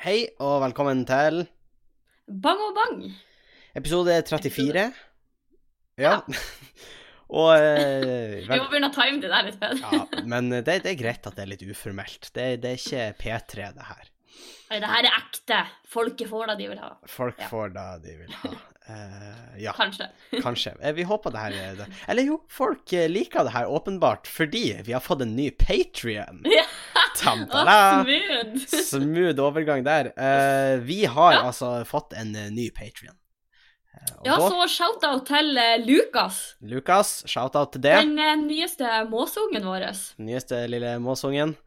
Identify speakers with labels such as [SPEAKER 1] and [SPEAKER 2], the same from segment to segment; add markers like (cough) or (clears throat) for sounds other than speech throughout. [SPEAKER 1] Hei, og velkommen til
[SPEAKER 2] Bang og bang!
[SPEAKER 1] episode 34. Ja.
[SPEAKER 2] Ja.
[SPEAKER 1] (laughs) og
[SPEAKER 2] (laughs)
[SPEAKER 1] eh,
[SPEAKER 2] Vi
[SPEAKER 1] vel,
[SPEAKER 2] må begynne å time det der litt bedre.
[SPEAKER 1] ja, Men det, det er greit at det er litt uformelt. Det, det er ikke P3, det her.
[SPEAKER 2] Nei, Det her er ekte. Folket får det de vil ha.
[SPEAKER 1] Folk
[SPEAKER 2] Ja.
[SPEAKER 1] får det de vil ha. Eh, ja,
[SPEAKER 2] Kanskje.
[SPEAKER 1] kanskje. Eh, Vi håper det her er det. Eller jo, folk eh, liker det her åpenbart fordi vi har fått en ny Patrion.
[SPEAKER 2] Ja. Å, (laughs)
[SPEAKER 1] Tamtala!
[SPEAKER 2] smooth!
[SPEAKER 1] Smooth overgang der. Eh, vi har
[SPEAKER 2] Ja.
[SPEAKER 1] altså fått en eh, ny Patrion. Eh, og
[SPEAKER 2] Ja,
[SPEAKER 1] da-
[SPEAKER 2] så shout-out til eh, Lukas.
[SPEAKER 1] Lukas, shout-out til det.
[SPEAKER 2] Den eh, nyeste måseungen vår.
[SPEAKER 1] Eh. Nyeste lille måsungen.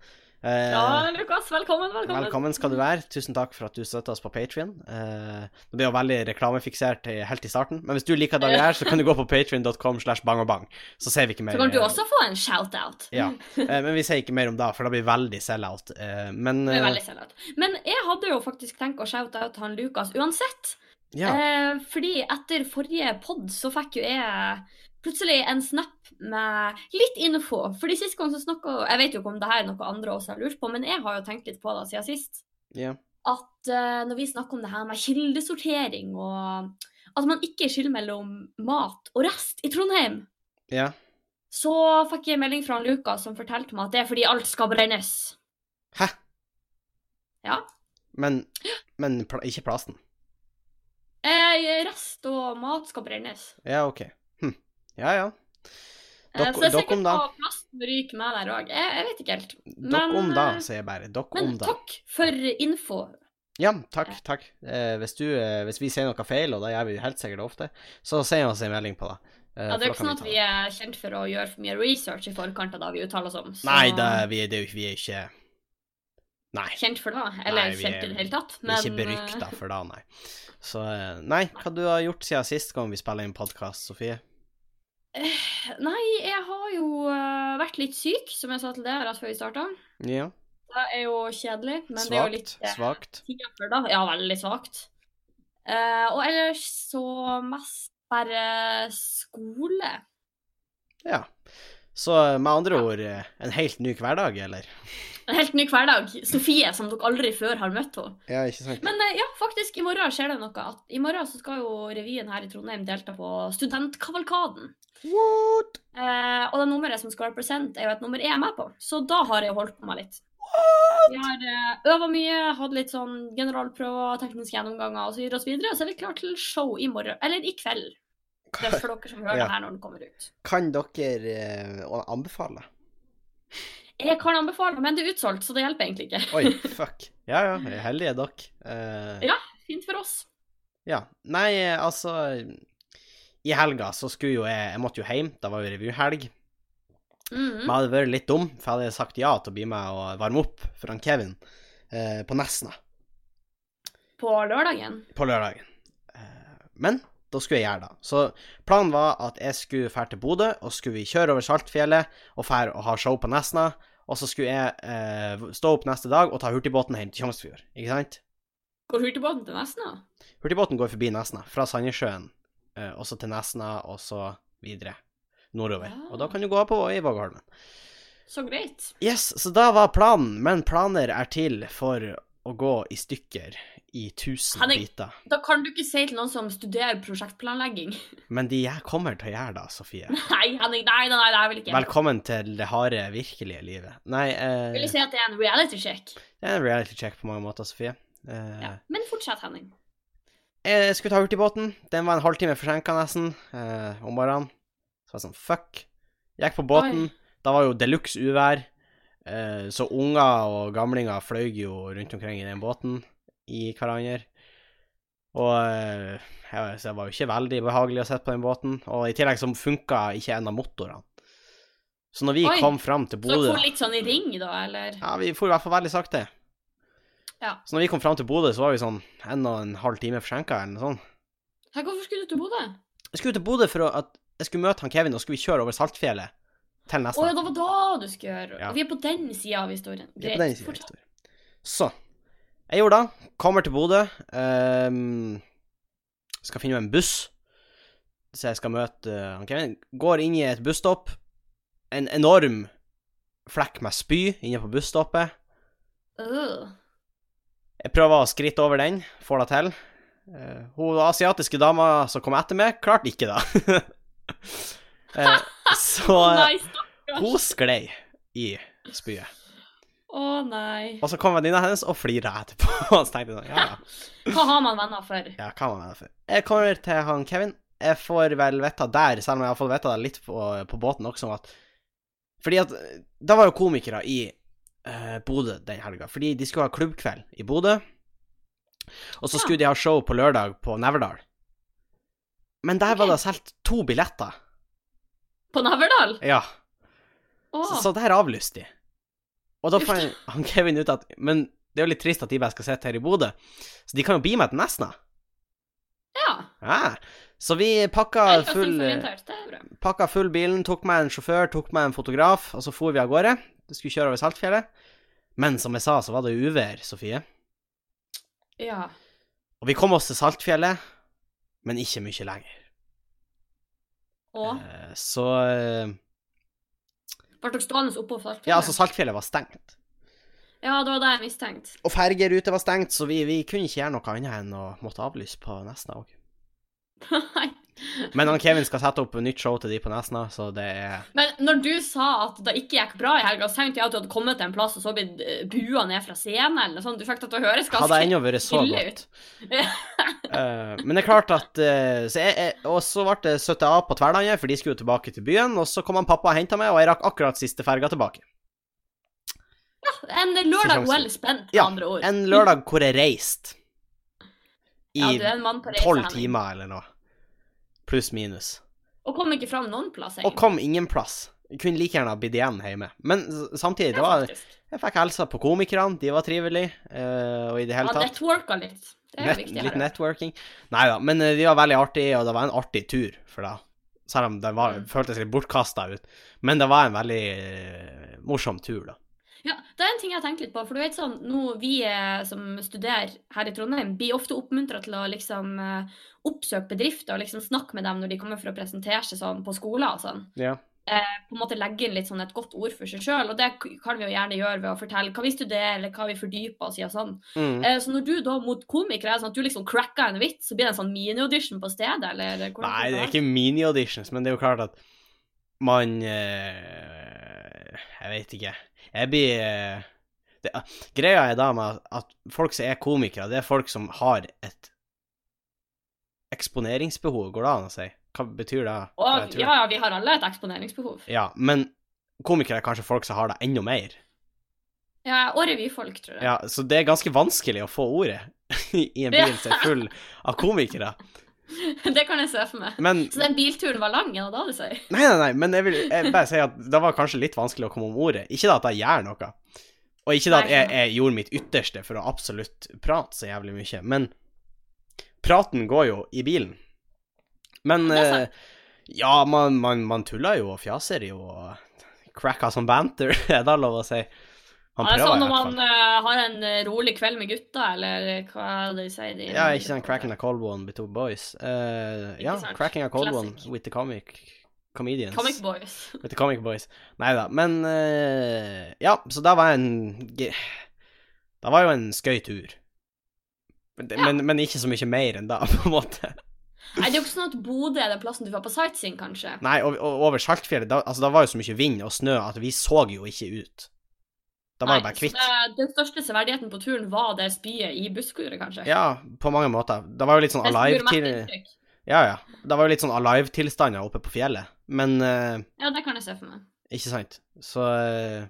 [SPEAKER 1] Eh,
[SPEAKER 2] Ja, Lukas, velkommen, velkommen.
[SPEAKER 1] velkommen skal du være. Tusen takk for at du støtter oss på Patrion. det blir jo veldig reklamefiksert i- helt i starten, men hvis du liker det vi gjør, så kan du gå på patrion.com slash bang og bang. Så ser vi ikke mer. eh,
[SPEAKER 2] Så kan du også få en shout-out.
[SPEAKER 1] Ja. Eh, men vi sier ikke mer om det, for det blir veldig sell-out. Eh, men
[SPEAKER 2] Det er
[SPEAKER 1] eh,
[SPEAKER 2] veldig selvout. Men jeg hadde jo faktisk tenkt å shout-out han Lukas uansett.
[SPEAKER 1] ja.
[SPEAKER 2] Eh, fordi etter forrige pod så fikk jo jeg plutselig en snap med litt info. Fordi sist gang så snakka Jeg vet jo ikke om det her er noe andre også har lurt på, men jeg har jo tenkt litt på det siden sist.
[SPEAKER 1] Ja.
[SPEAKER 2] At eh, når vi snakker om det her med kildesortering og at man ikke skiller mellom mat og rest i Trondheim,
[SPEAKER 1] ja.
[SPEAKER 2] så fikk jeg en melding fra han Lukas som fortalte meg at det er fordi alt skal brennes.
[SPEAKER 1] Hæ?
[SPEAKER 2] Ja.
[SPEAKER 1] Men, men pla ikke plasten.
[SPEAKER 2] Eh, rest og mat skal brennes.
[SPEAKER 1] Ja, OK. Hm. Ja, ja.
[SPEAKER 2] Eh,
[SPEAKER 1] Dere-
[SPEAKER 2] så
[SPEAKER 1] dere
[SPEAKER 2] det er
[SPEAKER 1] om
[SPEAKER 2] sikkert
[SPEAKER 1] da.
[SPEAKER 2] noe plasten ryker med der òg. Jeg, jeg vet ikke helt.
[SPEAKER 1] Dere om da,
[SPEAKER 2] eh,
[SPEAKER 1] sier jeg bare. Dere
[SPEAKER 2] Men
[SPEAKER 1] om da.
[SPEAKER 2] takk for info.
[SPEAKER 1] Ja, takk, takk. Eh, hvis, du, eh, hvis vi sier noe feil, og det gjør vi helt sikkert ofte, så send oss en melding på det. Eh,
[SPEAKER 2] Ja, det er jo ikke
[SPEAKER 1] for da kan
[SPEAKER 2] sånn at
[SPEAKER 1] ta
[SPEAKER 2] vi er kjent for å gjøre for mye research i forkant av det vi uttaler oss om. Så
[SPEAKER 1] Nei, det, vi, det er jo ikke Vi er ikke Nei.
[SPEAKER 2] Kjent for det, eller
[SPEAKER 1] Nei, vi
[SPEAKER 2] kjent
[SPEAKER 1] er-
[SPEAKER 2] i det hele tatt.
[SPEAKER 1] Vi er ikke
[SPEAKER 2] men, eh,
[SPEAKER 1] berykta for det, nei. Så eh, Nei, hva du har gjort siden sist gang vi spilte inn podkast, Sofie?
[SPEAKER 2] eh, Nei, jeg har jo eh, vært litt syk, som jeg sa til deg rett før vi starta.
[SPEAKER 1] Ja.
[SPEAKER 2] Det er jo kjedelig, men det er jo litt
[SPEAKER 1] Svakt.
[SPEAKER 2] eh,
[SPEAKER 1] Svakt.
[SPEAKER 2] tida før da. Ja, veldig svakt. Eh, og ellers så mest bare skole.
[SPEAKER 1] Ja. Så eh, med andre ord eh, en helt ny hverdag, eller?
[SPEAKER 2] En helt ny hverdag. Sofie, som dere aldri før har møtt henne.
[SPEAKER 1] Ja, ikke sant?
[SPEAKER 2] Men eh, ja, faktisk, i morgen skjer det noe. At I morgen så skal jo revyen her i Trondheim delta på Studentkavalkaden.
[SPEAKER 1] What?
[SPEAKER 2] Eh, og det nummeret som skal represent, er jo et nummer jeg er med på, så da har jeg jo holdt på meg litt. Vi har eh, øva mye, hatt litt sånn generalprøver, tekniske gjennomganger osv., og så videre, så er vi klar til show i morgen. Eller i kveld. Det er for dere som hører
[SPEAKER 1] Ja.
[SPEAKER 2] det her når den kommer ut.
[SPEAKER 1] Kan dere eh, anbefale?
[SPEAKER 2] Jeg kan anbefale, men det er utsolgt, så det hjelper egentlig ikke.
[SPEAKER 1] Oi, fuck. (laughs) Ja ja, heldige dere. Eh,
[SPEAKER 2] Fint for oss.
[SPEAKER 1] Ja. Nei, eh, altså I helga så skulle jo jeg Jeg måtte jo hjem, det var jo revyhelg. Men
[SPEAKER 2] Mhm.
[SPEAKER 1] jeg hadde vært litt dum, for jeg hadde sagt ja til å bli med og varme opp for han Kevin eh, på Nesna
[SPEAKER 2] På lørdagen.
[SPEAKER 1] på lørdagen. Eh, men da skulle jeg gjøre det. Så planen var at jeg skulle fære til Bodø, og skulle vi kjøre over Saltfjellet og fære og ha show på Nesna. Og så skulle jeg eh, stå opp neste dag og ta hurtigbåten hjem til Tjongsfjord, ikke sant?
[SPEAKER 2] Går hurtigbåten til Nesna?
[SPEAKER 1] Hurtigbåten går forbi Nesna, fra Sandnessjøen, eh, og så til Nesna, og så videre nordover.
[SPEAKER 2] Ah.
[SPEAKER 1] Og da kan du gå av på i Vågholmen.
[SPEAKER 2] Så greit.
[SPEAKER 1] Yes, så da var planen, men planer er til for å gå i stykker i tusen
[SPEAKER 2] Henning.
[SPEAKER 1] biter.
[SPEAKER 2] Da kan du ikke si til noen som studerer prosjektplanlegging. (laughs)
[SPEAKER 1] Men de jeg kommer til å gjøre da, Sofie.
[SPEAKER 2] Nei, Henning, nei, nei, nei, det vil jeg ikke.
[SPEAKER 1] Velkommen til det harde, virkelige livet. Nei, eh,
[SPEAKER 2] Vil jeg si at det er en reality check?
[SPEAKER 1] det er en reality check på mange måter, Sofie. Eh,
[SPEAKER 2] Ja. Men fortsett, Henning.
[SPEAKER 1] Jeg Eh, skulle ta hurtigbåten. Den var en halvtime forsinka nesten eh, om morgenen. Så var jeg sånn fuck. Jeg gikk på båten.
[SPEAKER 2] Oi.
[SPEAKER 1] Da var jo de luxe uvær. Eh, så unger og gamlinger fløy jo rundt omkring i den båten i hverandre. Og eh, jeg, var- så det var jo ikke veldig behagelig å sitte på den båten. Og i tillegg så funka ikke en av motorene. Så når vi
[SPEAKER 2] Oi.
[SPEAKER 1] kom fram til
[SPEAKER 2] Så dere
[SPEAKER 1] Bodø
[SPEAKER 2] får litt sånn i ring, da, eller?
[SPEAKER 1] ja, vi for i hvert fall veldig sakte.
[SPEAKER 2] Ja.
[SPEAKER 1] Så når vi kom fram til Bodø, så var vi sånn en og en halv time forsinka eller noe sånt.
[SPEAKER 2] Hæ, hvorfor skulle du til Bodø?
[SPEAKER 1] Jeg skulle til Bodø for å- at jeg skulle møte han Kevin, og skulle vi kjøre over Saltfjellet til
[SPEAKER 2] Å ja,
[SPEAKER 1] Nesna.
[SPEAKER 2] det var da du skulle gjøre
[SPEAKER 1] Altså. Ja.
[SPEAKER 2] Vi er på den sida av historien.
[SPEAKER 1] Det er på
[SPEAKER 2] Greit.
[SPEAKER 1] den siden av
[SPEAKER 2] fortsett.
[SPEAKER 1] historien. Så. Jeg gjorde det. Kommer til Bodø. ehm, skal finne meg en buss, så jeg skal møte eh, han Kevin. Går inn i et busstopp. En enorm flekk med spy inne på busstoppet.
[SPEAKER 2] Øh.
[SPEAKER 1] Jeg prøver å skritte over den, får det til. Eh, hun asiatiske dama som kom etter meg, klarte ikke det. (laughs)
[SPEAKER 2] (laughs)
[SPEAKER 1] Eh, så
[SPEAKER 2] Å
[SPEAKER 1] eh,
[SPEAKER 2] nei, stakkars.
[SPEAKER 1] hun sklei i spyet.
[SPEAKER 2] Å nei.
[SPEAKER 1] Og så kom venninna hennes og flira etterpå. (laughs) Og så tenkte jeg sånn, ja, ja.
[SPEAKER 2] Hva har man venner for?
[SPEAKER 1] Ja, hva var det for? Jeg kommer til han Kevin. Jeg får vel vite der, selv om jeg har fått vite det litt på, på båten også, at Fordi at eh, Det var jo komikere i eh, Bodø den helga, fordi de skulle ha klubbkveld i Bodø. Og så
[SPEAKER 2] Ja.
[SPEAKER 1] skulle de ha show på lørdag på Neverdal. Men der var
[SPEAKER 2] Ok.
[SPEAKER 1] det solgt to billetter.
[SPEAKER 2] På Neverdal?
[SPEAKER 1] Ja.
[SPEAKER 2] Å,
[SPEAKER 1] Så, så der avlyste de. Og da
[SPEAKER 2] Uff.
[SPEAKER 1] fant han Kevin ut at Men det er jo litt trist at de bare skal sitte her i Bodø, så de kan jo bli med til Nesna.
[SPEAKER 2] ja.
[SPEAKER 1] Ja. Så vi
[SPEAKER 2] Jeg
[SPEAKER 1] pakka
[SPEAKER 2] liker å
[SPEAKER 1] full, eh,
[SPEAKER 2] synes orientert, Det er bra.
[SPEAKER 1] pakka full bilen, tok med en sjåfør, tok med en fotograf, og så for vi av gårde. Vi skulle kjøre over Saltfjellet. Men som jeg sa, så var det jo uvær, Sofie.
[SPEAKER 2] Ja.
[SPEAKER 1] Og vi kom oss til Saltfjellet, men ikke mye lenger.
[SPEAKER 2] Og
[SPEAKER 1] Eh, Så eh,
[SPEAKER 2] ble dere stående oppå Saltfjellet?
[SPEAKER 1] Ja, altså, Saltfjellet var stengt.
[SPEAKER 2] ja, det var det jeg mistenkte.
[SPEAKER 1] Og fergerute var stengt, så vi, vi kunne ikke gjøre noe annet enn å måtte avlyse på Nesna òg.
[SPEAKER 2] Nei.
[SPEAKER 1] Men han Kevin skal sette opp nytt show til de på Nesna, så det er
[SPEAKER 2] Men når du sa at det ikke gikk bra i helga, så tenkte jeg at du hadde kommet til en plass og så blitt eh, bua ned fra scenen eller noe sånt. Du fikk det til å høres
[SPEAKER 1] Hadde
[SPEAKER 2] ganske (laughs)
[SPEAKER 1] ennå vært så
[SPEAKER 2] ille
[SPEAKER 1] godt.
[SPEAKER 2] ut.
[SPEAKER 1] Eh, men det er klart at eh, så jeg, jeg, Og så ble det 70A på Tverlandet, for de skulle jo tilbake til byen. Og så kom han pappa og henta meg, og jeg rakk akkurat siste ferga tilbake.
[SPEAKER 2] En lørdag
[SPEAKER 1] Sjansen.
[SPEAKER 2] well spent, med
[SPEAKER 1] Ja,
[SPEAKER 2] andre ord.
[SPEAKER 1] En lørdag hvor jeg reiste
[SPEAKER 2] ja,
[SPEAKER 1] i
[SPEAKER 2] du er en mann på reise,
[SPEAKER 1] tolv
[SPEAKER 2] Henning.
[SPEAKER 1] timer eller noe. Pluss minus.
[SPEAKER 2] Og kom ikke fram noen plass,
[SPEAKER 1] Og kom ingen plass. Jeg kunne like gjerne ha blitt igjen hjemme. Men s- samtidig, det var,
[SPEAKER 2] faktisk.
[SPEAKER 1] jeg fikk hilsa på komikerne, de var trivelige, eh, og i det hele
[SPEAKER 2] Ja,
[SPEAKER 1] tatt
[SPEAKER 2] networka litt. Det er jo
[SPEAKER 1] Nett,
[SPEAKER 2] viktig.
[SPEAKER 1] litt
[SPEAKER 2] her.
[SPEAKER 1] networking. Nei da, men eh, de var veldig artige, og det var en artig tur for deg. Selv om den var,
[SPEAKER 2] Mm.
[SPEAKER 1] føltes litt bortkasta ut. Men det var en veldig eh, morsom tur, da.
[SPEAKER 2] Ja, det er en ting jeg har tenkt litt på. For du vet sånn, nå vi eh, som studerer her i Trondheim, blir ofte oppmuntra til å liksom eh, oppsøke bedrifter og liksom snakke med dem når de kommer for å presentere seg sånn på skoler og sånn.
[SPEAKER 1] Ja.
[SPEAKER 2] Eh, på en måte legge inn litt sånn et godt ord for seg sjøl, og det k- kan vi jo gjerne gjøre ved å fortelle hva vi studerer, eller hva vi fordyper oss i og sånn.
[SPEAKER 1] Mm.
[SPEAKER 2] Eh, så når du da mot komikere er det sånn at du liksom cracker en vits, så blir det en sånn mini-audition på stedet, eller hvordan
[SPEAKER 1] Nei, det er
[SPEAKER 2] funker
[SPEAKER 1] ikke mini-auditions, men det er jo klart at man eh, Jeg vet ikke. Jeg blir eh, det, Greia er da med at folk som er komikere, det er folk som har et eksponeringsbehov, går det an å si? Hva betyr det? Jeg
[SPEAKER 2] Og,
[SPEAKER 1] tror-
[SPEAKER 2] ja, ja, vi har alle et eksponeringsbehov.
[SPEAKER 1] Ja, men komikere er kanskje folk som har det enda mer.
[SPEAKER 2] Ja, og revyfolk, tror jeg.
[SPEAKER 1] Ja, så det er ganske vanskelig å få ordet (laughs) i en bil som er full av komikere.
[SPEAKER 2] (laughs) det kan jeg se for meg.
[SPEAKER 1] Men
[SPEAKER 2] Så den bilturen var lang, ja, da, du sier?
[SPEAKER 1] Nei, nei, nei, men jeg vil jeg bare si at det var kanskje litt vanskelig å komme om ordet. Ikke da at jeg gjør noe, og ikke da at jeg, jeg gjorde mitt ytterste for å absolutt prate så jævlig mye, men praten går jo i bilen. Men
[SPEAKER 2] Det er sant.
[SPEAKER 1] eh, ja, man, man, man tuller jo og fjaser jo og cracker som banter, (laughs) er det lov å si? Han
[SPEAKER 2] ja, det er
[SPEAKER 1] prøver i
[SPEAKER 2] sånn når
[SPEAKER 1] hvert fall.
[SPEAKER 2] man eh, har en eh, rolig kveld med gutta, eller hva er det de sier de
[SPEAKER 1] Ja, ikke sant. Cracking a cold one with two boys. Eh, ja,
[SPEAKER 2] sant.
[SPEAKER 1] cracking a cold
[SPEAKER 2] Classic.
[SPEAKER 1] one with the comic comedians.
[SPEAKER 2] Comic boys.
[SPEAKER 1] With the comic boys. Nei da, men eh, Ja, så da var en ge- Det var jo en skøy tur. Men, det-
[SPEAKER 2] Ja.
[SPEAKER 1] men, men ikke så mye mer enn da, (laughs) på en måte.
[SPEAKER 2] Nei, det er jo ikke sånn at Bodø er den plassen du var på sightseeing, kanskje.
[SPEAKER 1] Nei, og, og over Saltfjellet, da, altså, da var jo så mye vind og snø at vi så jo ikke ut. Da var det bare
[SPEAKER 2] så
[SPEAKER 1] kvitt.
[SPEAKER 2] det- Den største severdigheten på turen var det spyet i busskuret, kanskje.
[SPEAKER 1] Ja, på mange måter. Det var jo litt sånn
[SPEAKER 2] Det gjorde
[SPEAKER 1] alive
[SPEAKER 2] mest
[SPEAKER 1] til
[SPEAKER 2] inntrykk.
[SPEAKER 1] Ja, ja. Det var jo litt sånn alive-tilstander oppe på fjellet. Men eh,
[SPEAKER 2] Ja, det kan jeg se for meg.
[SPEAKER 1] Ikke sant? Så eh,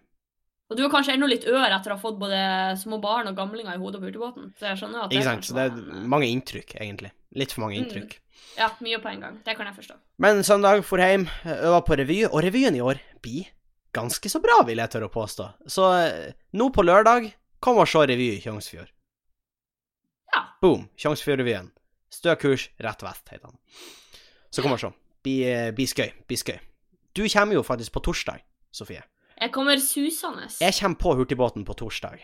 [SPEAKER 2] Og du har kanskje ennå litt ør etter å ha fått både små barn og gamlinger i hodet på hurtigbåten. Så jeg skjønner jo at det
[SPEAKER 1] Ikke sant?
[SPEAKER 2] kanskje
[SPEAKER 1] Så det
[SPEAKER 2] var en,
[SPEAKER 1] er mange inntrykk, egentlig. Litt for mange
[SPEAKER 2] Mm.
[SPEAKER 1] inntrykk.
[SPEAKER 2] eh, Ja, mye på en gang. Det kan jeg forstå.
[SPEAKER 1] Men søndag for hjem, øva eh, på revy, og revyen i år blir ganske så bra, vil jeg tørre å påstå. Så eh, nå på lørdag, kom og se revy i Tjongsfjord.
[SPEAKER 2] Ja.
[SPEAKER 1] Boom, Tjongsfjordrevyen. Stø kurs rett vest, heter han. Så kom og se. Bli, eh, bli skøy, bli skøy. Du kommer jo faktisk på torsdag, Sofie.
[SPEAKER 2] Jeg kommer susende.
[SPEAKER 1] Jeg kommer på hurtigbåten på torsdag.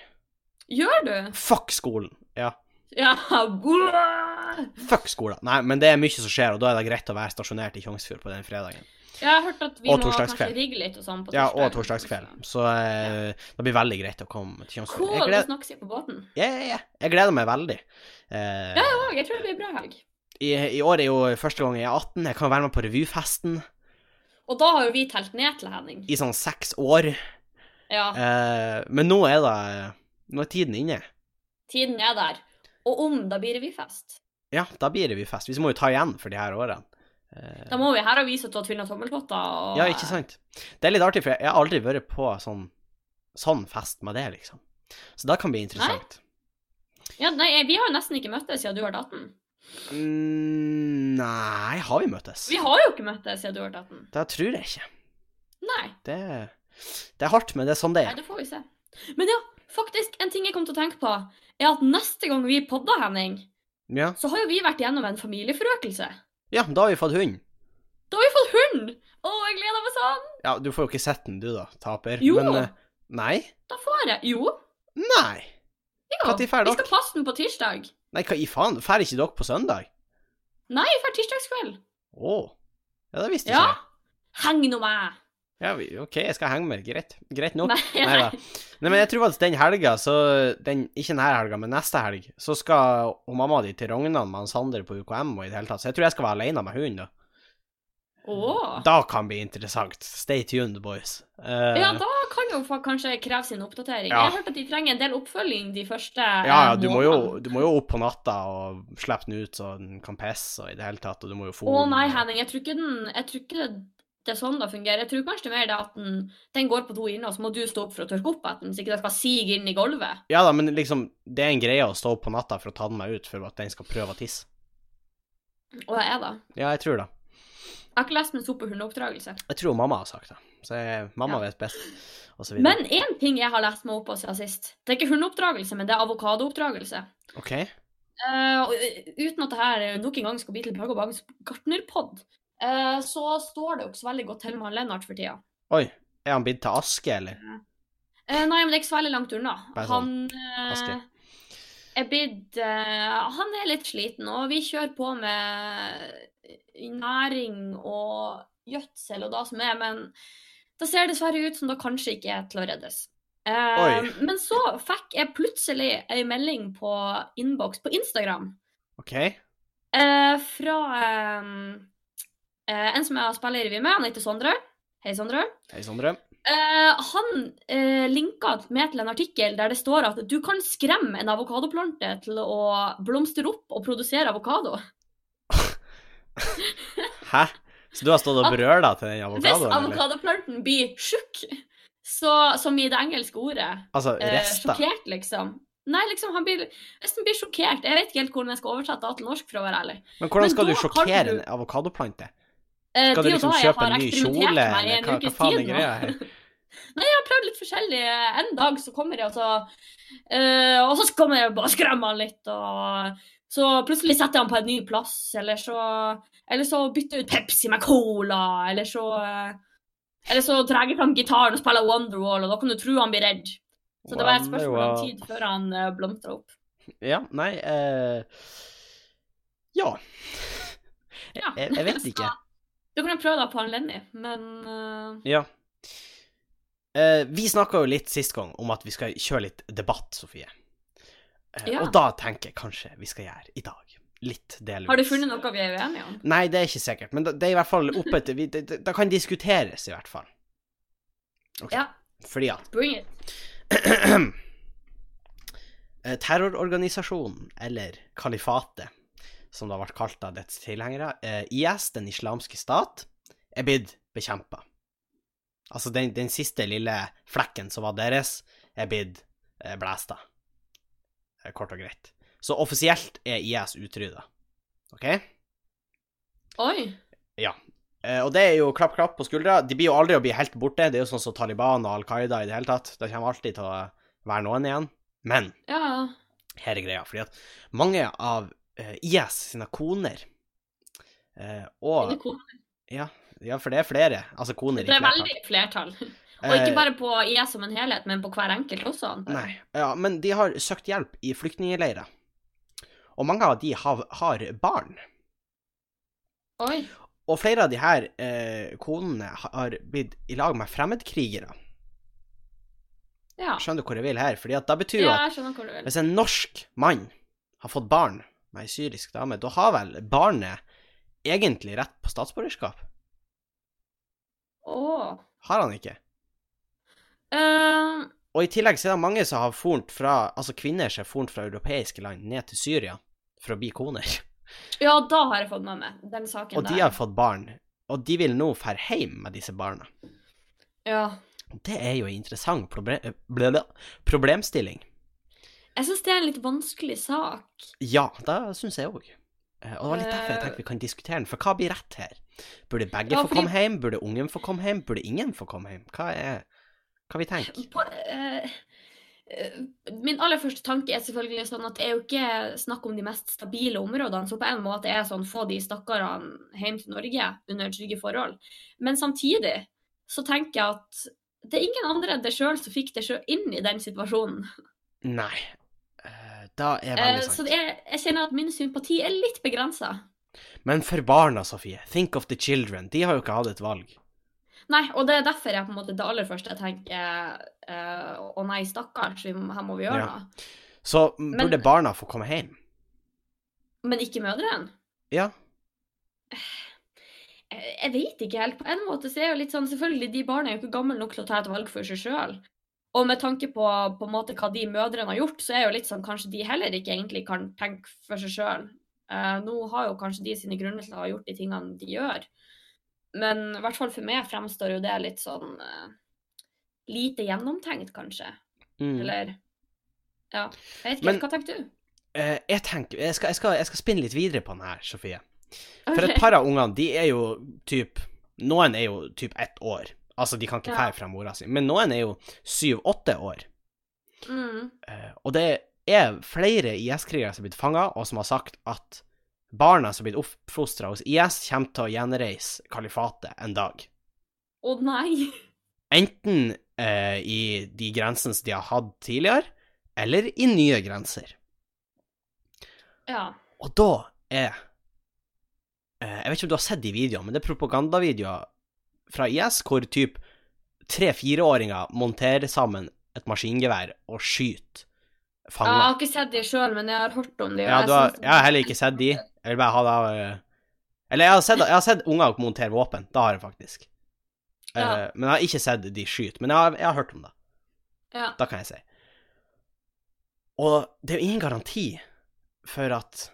[SPEAKER 2] Gjør du?
[SPEAKER 1] Fuck skolen! Ja.
[SPEAKER 2] Ja, buah!
[SPEAKER 1] Fuck skolen. Nei, men det er mye som skjer, og da er det greit å være stasjonert i Tjongsfjord på den fredagen.
[SPEAKER 2] Jeg har hørt at vi
[SPEAKER 1] Og
[SPEAKER 2] må kanskje
[SPEAKER 1] torsdagskveld.
[SPEAKER 2] rigge litt og liksom. sånn på
[SPEAKER 1] Ja, og torsdagskveld. Så eh, det blir veldig greit å komme til Tjongsfjord.
[SPEAKER 2] Kål
[SPEAKER 1] Jeg,
[SPEAKER 2] å
[SPEAKER 1] gled,
[SPEAKER 2] snakkes i på båten.
[SPEAKER 1] ja, ja, ja. jeg gleder meg veldig. Eh,
[SPEAKER 2] Ja, ja, jeg tror det blir bra helg.
[SPEAKER 1] i, I år er jo første gang jeg er 18. Jeg kan være med på revyfesten
[SPEAKER 2] Og da har jo vi telt ned til Henning.
[SPEAKER 1] i sånn seks år.
[SPEAKER 2] Ja,
[SPEAKER 1] Eh, men nå er det Nå er tiden inne.
[SPEAKER 2] tiden er der. Og om, da blir det vi fest.
[SPEAKER 1] Ja, da blir det revyfest. Vi må jo ta igjen for de her årene. Eh,
[SPEAKER 2] Da må vi her avise og ta tvinna tommeltotter og
[SPEAKER 1] Ja, ikke sant? Det er litt artig, for jeg har aldri vært på sånn, sånn fest med det, liksom. Så det kan bli interessant.
[SPEAKER 2] Ja, nei, vi har jo nesten ikke møttes siden du var 18.
[SPEAKER 1] Mm, nei, har vi møttes?
[SPEAKER 2] Vi har jo ikke møttes siden du var 18.
[SPEAKER 1] Det tror jeg ikke.
[SPEAKER 2] Nei,
[SPEAKER 1] Det, det er hardt, men det er sånn det
[SPEAKER 2] nei,
[SPEAKER 1] er.
[SPEAKER 2] det får vi se. Men ja, faktisk, en ting jeg kom til å tenke på, er at neste gang vi podder, Henning,
[SPEAKER 1] Ja,
[SPEAKER 2] så har jo vi vært gjennom en familieforøkelse.
[SPEAKER 1] ja da har vi fått hund.
[SPEAKER 2] Da har vi fått hund! Å, jeg gleder meg sånn!
[SPEAKER 1] Ja, du får jo ikke sett den, du da, taper.
[SPEAKER 2] Jo.
[SPEAKER 1] Men eh, Nei.
[SPEAKER 2] Da får jeg Jo,
[SPEAKER 1] Nei.
[SPEAKER 2] jo.
[SPEAKER 1] Når drar
[SPEAKER 2] vi
[SPEAKER 1] dere?
[SPEAKER 2] skal passe den på tirsdag.
[SPEAKER 1] Nei, hva i faen? Drar ikke dere på søndag?
[SPEAKER 2] Nei, vi drar tirsdagskveld.
[SPEAKER 1] Å. Ja, det visste
[SPEAKER 2] Ja.
[SPEAKER 1] ikke jeg.
[SPEAKER 2] Heng nå med!
[SPEAKER 1] Ja, vi, OK, jeg skal henge med. Greit. Greit nok.
[SPEAKER 2] Nei,
[SPEAKER 1] Nei da. Nei, men jeg tror at den helga, så den, Ikke denne helga, men neste helg, så skal hun mamma di til Rognan med han Sander på UKM og i det hele tatt, så jeg tror jeg skal være aleine med hunden, da.
[SPEAKER 2] Åh.
[SPEAKER 1] Da kan bli interessant. Stay tuned, boys. Eh,
[SPEAKER 2] Ja, da kan jo fa- kanskje kreve sin oppdatering.
[SPEAKER 1] Ja.
[SPEAKER 2] Jeg har hørt at de trenger en del oppfølging de første eh,
[SPEAKER 1] ja, ja, du må, jo, du må jo opp på natta og slippe den ut så den kan pisse og i det hele tatt, og du må jo
[SPEAKER 2] Å
[SPEAKER 1] fôre den.
[SPEAKER 2] nei, Henning, jeg tror ikke, den, jeg tror ikke det, det er sånn det fungerer. Jeg tror kanskje det er mer det at den, den går på to inne, og så må du stå opp for å tørke opp etter den, så ikke det skal sige inn i gulvet.
[SPEAKER 1] Ja da, men liksom, det er en greie å stå opp på natta for å ta den meg ut for at den skal prøve å tisse.
[SPEAKER 2] Og det er det.
[SPEAKER 1] Ja, jeg tror det.
[SPEAKER 2] Jeg har ikke lest meg så opp på hundeoppdragelse.
[SPEAKER 1] Jeg tror mamma har sagt det. Så jeg, mamma
[SPEAKER 2] Ja.
[SPEAKER 1] vet best, og så videre.
[SPEAKER 2] Men én ting jeg har lest meg opp på siden sist, det er ikke hundeoppdragelse, men det er avokadooppdragelse.
[SPEAKER 1] OK?
[SPEAKER 2] Eh, og, eh, uten at det her nok en gang skal bli til Børge og Bagens gartnerpod, eh, så står det jo ikke så veldig godt til med han Lennart for tida.
[SPEAKER 1] Oi, er han blitt til aske, eller?
[SPEAKER 2] Eh, nei, men det er ikke så veldig langt unna.
[SPEAKER 1] Bare
[SPEAKER 2] Han
[SPEAKER 1] sånn,
[SPEAKER 2] eh,
[SPEAKER 1] Aske.
[SPEAKER 2] er blitt eh, Han er litt sliten, og vi kjører på med næring og gjødsel og det som er, men det ser dessverre ut som det kanskje ikke er til å reddes. Eh,
[SPEAKER 1] Oi.
[SPEAKER 2] men så fikk jeg plutselig ei melding på innboks på Instagram
[SPEAKER 1] OK?
[SPEAKER 2] eh, fra eh, eh, en som jeg spiller i revy med. Han heter Sondre. Hei, Sondre.
[SPEAKER 1] Hei, Sondre.
[SPEAKER 2] Eh, han eh, linka med til en artikkel der det står at du kan skremme en avokadoplante til å blomstre opp og produsere avokado.
[SPEAKER 1] Hæ? Så du har stått og
[SPEAKER 2] At-
[SPEAKER 1] brøla til den
[SPEAKER 2] Hvis
[SPEAKER 1] avokadoen? eller?
[SPEAKER 2] avokadoplanten blir tjukk, så, som i det engelske ordet
[SPEAKER 1] Altså,
[SPEAKER 2] eh,
[SPEAKER 1] rester?
[SPEAKER 2] Sjokkert, liksom. Nei, liksom, han blir, hvis den blir sjokkert Jeg vet ikke helt hvordan jeg skal oversette det til norsk, for å være ærlig.
[SPEAKER 1] Men hvordan
[SPEAKER 2] Men
[SPEAKER 1] skal
[SPEAKER 2] da
[SPEAKER 1] du
[SPEAKER 2] kan
[SPEAKER 1] sjokkere
[SPEAKER 2] du-
[SPEAKER 1] en avokadoplante?
[SPEAKER 2] Eh,
[SPEAKER 1] Skal
[SPEAKER 2] det
[SPEAKER 1] du
[SPEAKER 2] er jo
[SPEAKER 1] liksom
[SPEAKER 2] da jeg
[SPEAKER 1] kjøpe
[SPEAKER 2] har
[SPEAKER 1] en ny
[SPEAKER 2] eksperimentert
[SPEAKER 1] kjole,
[SPEAKER 2] med i en
[SPEAKER 1] eller hva, hva
[SPEAKER 2] ukes
[SPEAKER 1] faen
[SPEAKER 2] tid
[SPEAKER 1] er
[SPEAKER 2] nå.
[SPEAKER 1] greia
[SPEAKER 2] (laughs)
[SPEAKER 1] her?
[SPEAKER 2] Jeg har prøvd litt forskjellig. En dag så kommer jeg, og så, eh, og så kommer jeg og bare skremmer han litt. Og så plutselig setter jeg han på en ny plass, eller så, eller så bytter jeg ut Pepsi med Cola, eller så eh, Eller så drar jeg fram gitaren og spiller Wonderwall, og da kan du tro han blir redd. Så det var et spørsmål om tid før han uh, blomstra opp.
[SPEAKER 1] Ja, nei eh, Ja. Eh,
[SPEAKER 2] Ja.
[SPEAKER 1] Jeg, jeg
[SPEAKER 2] (laughs)
[SPEAKER 1] vet ikke.
[SPEAKER 2] Du kan jo prøve deg på han Lenny, men eh,
[SPEAKER 1] Ja. Eh, vi snakka jo litt sist gang om at vi skal kjøre litt debatt, Sofie. Eh,
[SPEAKER 2] Ja.
[SPEAKER 1] Og da tenker jeg kanskje vi skal gjøre i dag. Litt delvis.
[SPEAKER 2] Har du funnet noe vi er uenige om?
[SPEAKER 1] Nei, det er ikke sikkert, men det, det er i hvert fall oppe til vi- Det, det, det kan diskuteres, i hvert fall. Ok.
[SPEAKER 2] Ja.
[SPEAKER 1] Fordi at
[SPEAKER 2] Bring it.
[SPEAKER 1] (clears throat) Eh, Terrororganisasjonen, eller kalifatet, som det har vært kalt av dets tilhengere, eh, IS, den islamske stat, er blitt bekjempa. Altså, den, den siste lille flekken som var deres, er blitt eh, blæsta. Eh, Kort og greit. Så offisielt er IS utrydda. OK?
[SPEAKER 2] Oi.
[SPEAKER 1] Eh, og det er jo klapp, klapp på skuldra. De blir jo aldri å bli helt borte. Det er jo sånn som Taliban og Al Qaida i det hele tatt. Det kommer alltid til å være noen igjen. Men
[SPEAKER 2] Ja.
[SPEAKER 1] her er greia, fordi at mange av eh, IS sine koner eh, og
[SPEAKER 2] Det
[SPEAKER 1] Ja, for det er flere. Altså koner i
[SPEAKER 2] er
[SPEAKER 1] flertall.
[SPEAKER 2] veldig flertall. Og
[SPEAKER 1] Eh,
[SPEAKER 2] ikke bare på IS som en
[SPEAKER 1] Eh,
[SPEAKER 2] helhet, men på hver enkelt også. antar jeg.
[SPEAKER 1] Nei. Ja, men de har søkt hjelp i flyktningleirer. Og mange av de har, har barn.
[SPEAKER 2] Oi.
[SPEAKER 1] Og flere av de her eh, konene har blitt i lag med fremmedkrigere.
[SPEAKER 2] Ja.
[SPEAKER 1] Skjønner du hvor jeg vil her? Fordi at da betyr jo
[SPEAKER 2] ja,
[SPEAKER 1] at
[SPEAKER 2] jeg skjønner hvor du vil.
[SPEAKER 1] hvis en norsk mann har fått barn med ei syrisk dame, da har vel barnet egentlig rett på statsborgerskap?
[SPEAKER 2] Åh.
[SPEAKER 1] Har han ikke?
[SPEAKER 2] Eh,
[SPEAKER 1] Og i tillegg så er det mange som har fornt fra Altså kvinner som har fornt fra europeiske land ned til Syria for å bli koner.
[SPEAKER 2] ja, da har jeg fått med meg den saken
[SPEAKER 1] Og de har fått barn. Og de vil nå fære hjem med disse barna.
[SPEAKER 2] Ja.
[SPEAKER 1] Det er jo en interessant proble eh, ble- ble- problemstilling.
[SPEAKER 2] Jeg syns det er en litt vanskelig sak.
[SPEAKER 1] Ja, det syns jeg òg. Og det var litt derfor jeg
[SPEAKER 2] Eh.
[SPEAKER 1] tenkte vi kan diskutere den, for hva blir rett her? Burde begge
[SPEAKER 2] Ja,
[SPEAKER 1] få
[SPEAKER 2] fordi-
[SPEAKER 1] komme hjem? Burde ungen få komme hjem? Burde ingen få komme hjem? Hva er Hva vi tenker?
[SPEAKER 2] På, eh, eh, min aller første tanke er selvfølgelig sånn at det er jo ikke snakk om de mest stabile områdene, så på en måte er det sånn få de stakkarene hjem til Norge under trygge forhold. Men samtidig så tenker jeg at det er ingen andre enn deg sjøl som fikk deg sjøl inn i den situasjonen.
[SPEAKER 1] Nei. Eh, Da er
[SPEAKER 2] Eh,
[SPEAKER 1] veldig
[SPEAKER 2] så
[SPEAKER 1] sant.
[SPEAKER 2] det er, jeg kjenner at min sympati er litt begrensa.
[SPEAKER 1] Men for barna, Sofie. Think of the children. De har jo ikke hatt et valg.
[SPEAKER 2] Nei, og det er derfor jeg på en måte det aller første jeg tenker eh, Å nei, stakkars, vi må, her må vi gjøre
[SPEAKER 1] Ja.
[SPEAKER 2] noe.
[SPEAKER 1] Så m,
[SPEAKER 2] Men-
[SPEAKER 1] burde barna få komme hjem?
[SPEAKER 2] Men ikke mødrene.
[SPEAKER 1] Ja.
[SPEAKER 2] Jeg Eh, jeg vet ikke helt. På en måte så er jeg jo litt sånn Selvfølgelig, de barna er jo ikke gamle nok til å ta et valg for seg sjøl. Og med tanke på, på en måte, hva de mødrene har gjort, så er jo litt sånn kanskje de heller ikke egentlig kan tenke for seg sjøl. nå har jo kanskje de sine grunner til å ha gjort de tingene de gjør. Men i hvert fall for meg fremstår jo det litt sånn eh, lite gjennomtenkt, kanskje.
[SPEAKER 1] Mm.
[SPEAKER 2] Eller Ja. Jeg vet ikke,
[SPEAKER 1] Men-
[SPEAKER 2] helt, hva tenker du?
[SPEAKER 1] Eh, jeg tenker jeg skal, jeg, skal, jeg skal spinne litt videre på den her, Sofie. For
[SPEAKER 2] Ok.
[SPEAKER 1] et par av ungene, de er jo typ Noen er jo typ ett år. Altså, de kan ikke
[SPEAKER 2] Ja.
[SPEAKER 1] fære fra mora si. Men noen er jo syv-åtte år.
[SPEAKER 2] Mm.
[SPEAKER 1] Eh, og det er flere IS-krigere som har blitt fanga, og som har sagt at barna som har blitt oppfostra hos IS, kommer til å gjenreise kalifatet en dag.
[SPEAKER 2] Å nei! (laughs)
[SPEAKER 1] Enten eh, i de grensene som de har hatt tidligere, eller i nye grenser.
[SPEAKER 2] Ja.
[SPEAKER 1] Og da er eh, Jeg vet ikke om du har sett de videoene, men det er propagandavideoer fra IS hvor typ tre-fireåringer monterer sammen et maskingevær og skyter
[SPEAKER 2] Jeg har
[SPEAKER 1] fanger.
[SPEAKER 2] ikke sett de sjøl, men jeg har hørt om de. og
[SPEAKER 1] ja,
[SPEAKER 2] jeg
[SPEAKER 1] du har,
[SPEAKER 2] synes-
[SPEAKER 1] jeg har heller ikke sett de. Jeg vil bare ha det av eh, Eller jeg har sett, jeg har sett unger montere våpen. Det har jeg faktisk. Eh,
[SPEAKER 2] Ja.
[SPEAKER 1] Men jeg har ikke sett de skyte. Men jeg har, jeg har hørt om det.
[SPEAKER 2] Ja.
[SPEAKER 1] Da kan jeg si. Og det er jo ingen garanti for at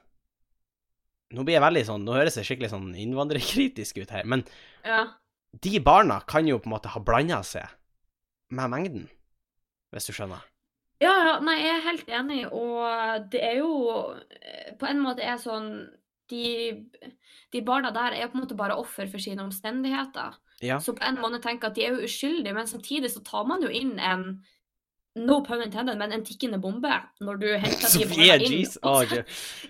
[SPEAKER 1] Nå blir jeg veldig sånn, nå høres jeg skikkelig sånn innvandrerkritisk ut her, men
[SPEAKER 2] Ja.
[SPEAKER 1] de barna kan jo på en måte ha blanda seg med mengden, hvis du skjønner.
[SPEAKER 2] Ja, ja, nei, jeg er helt enig, og det er jo eh, på en måte er sånn de, de barna der er på en måte bare offer for sine omstendigheter.
[SPEAKER 1] Ja.
[SPEAKER 2] Så på en måte tenker jeg at de er jo uskyldige, men samtidig så tar man jo inn en no pun intended, men en tikkende bombe når du henter de barna
[SPEAKER 1] Sofie,
[SPEAKER 2] inn.
[SPEAKER 1] jeez.
[SPEAKER 2] Og
[SPEAKER 1] Å,
[SPEAKER 2] så-
[SPEAKER 1] gud.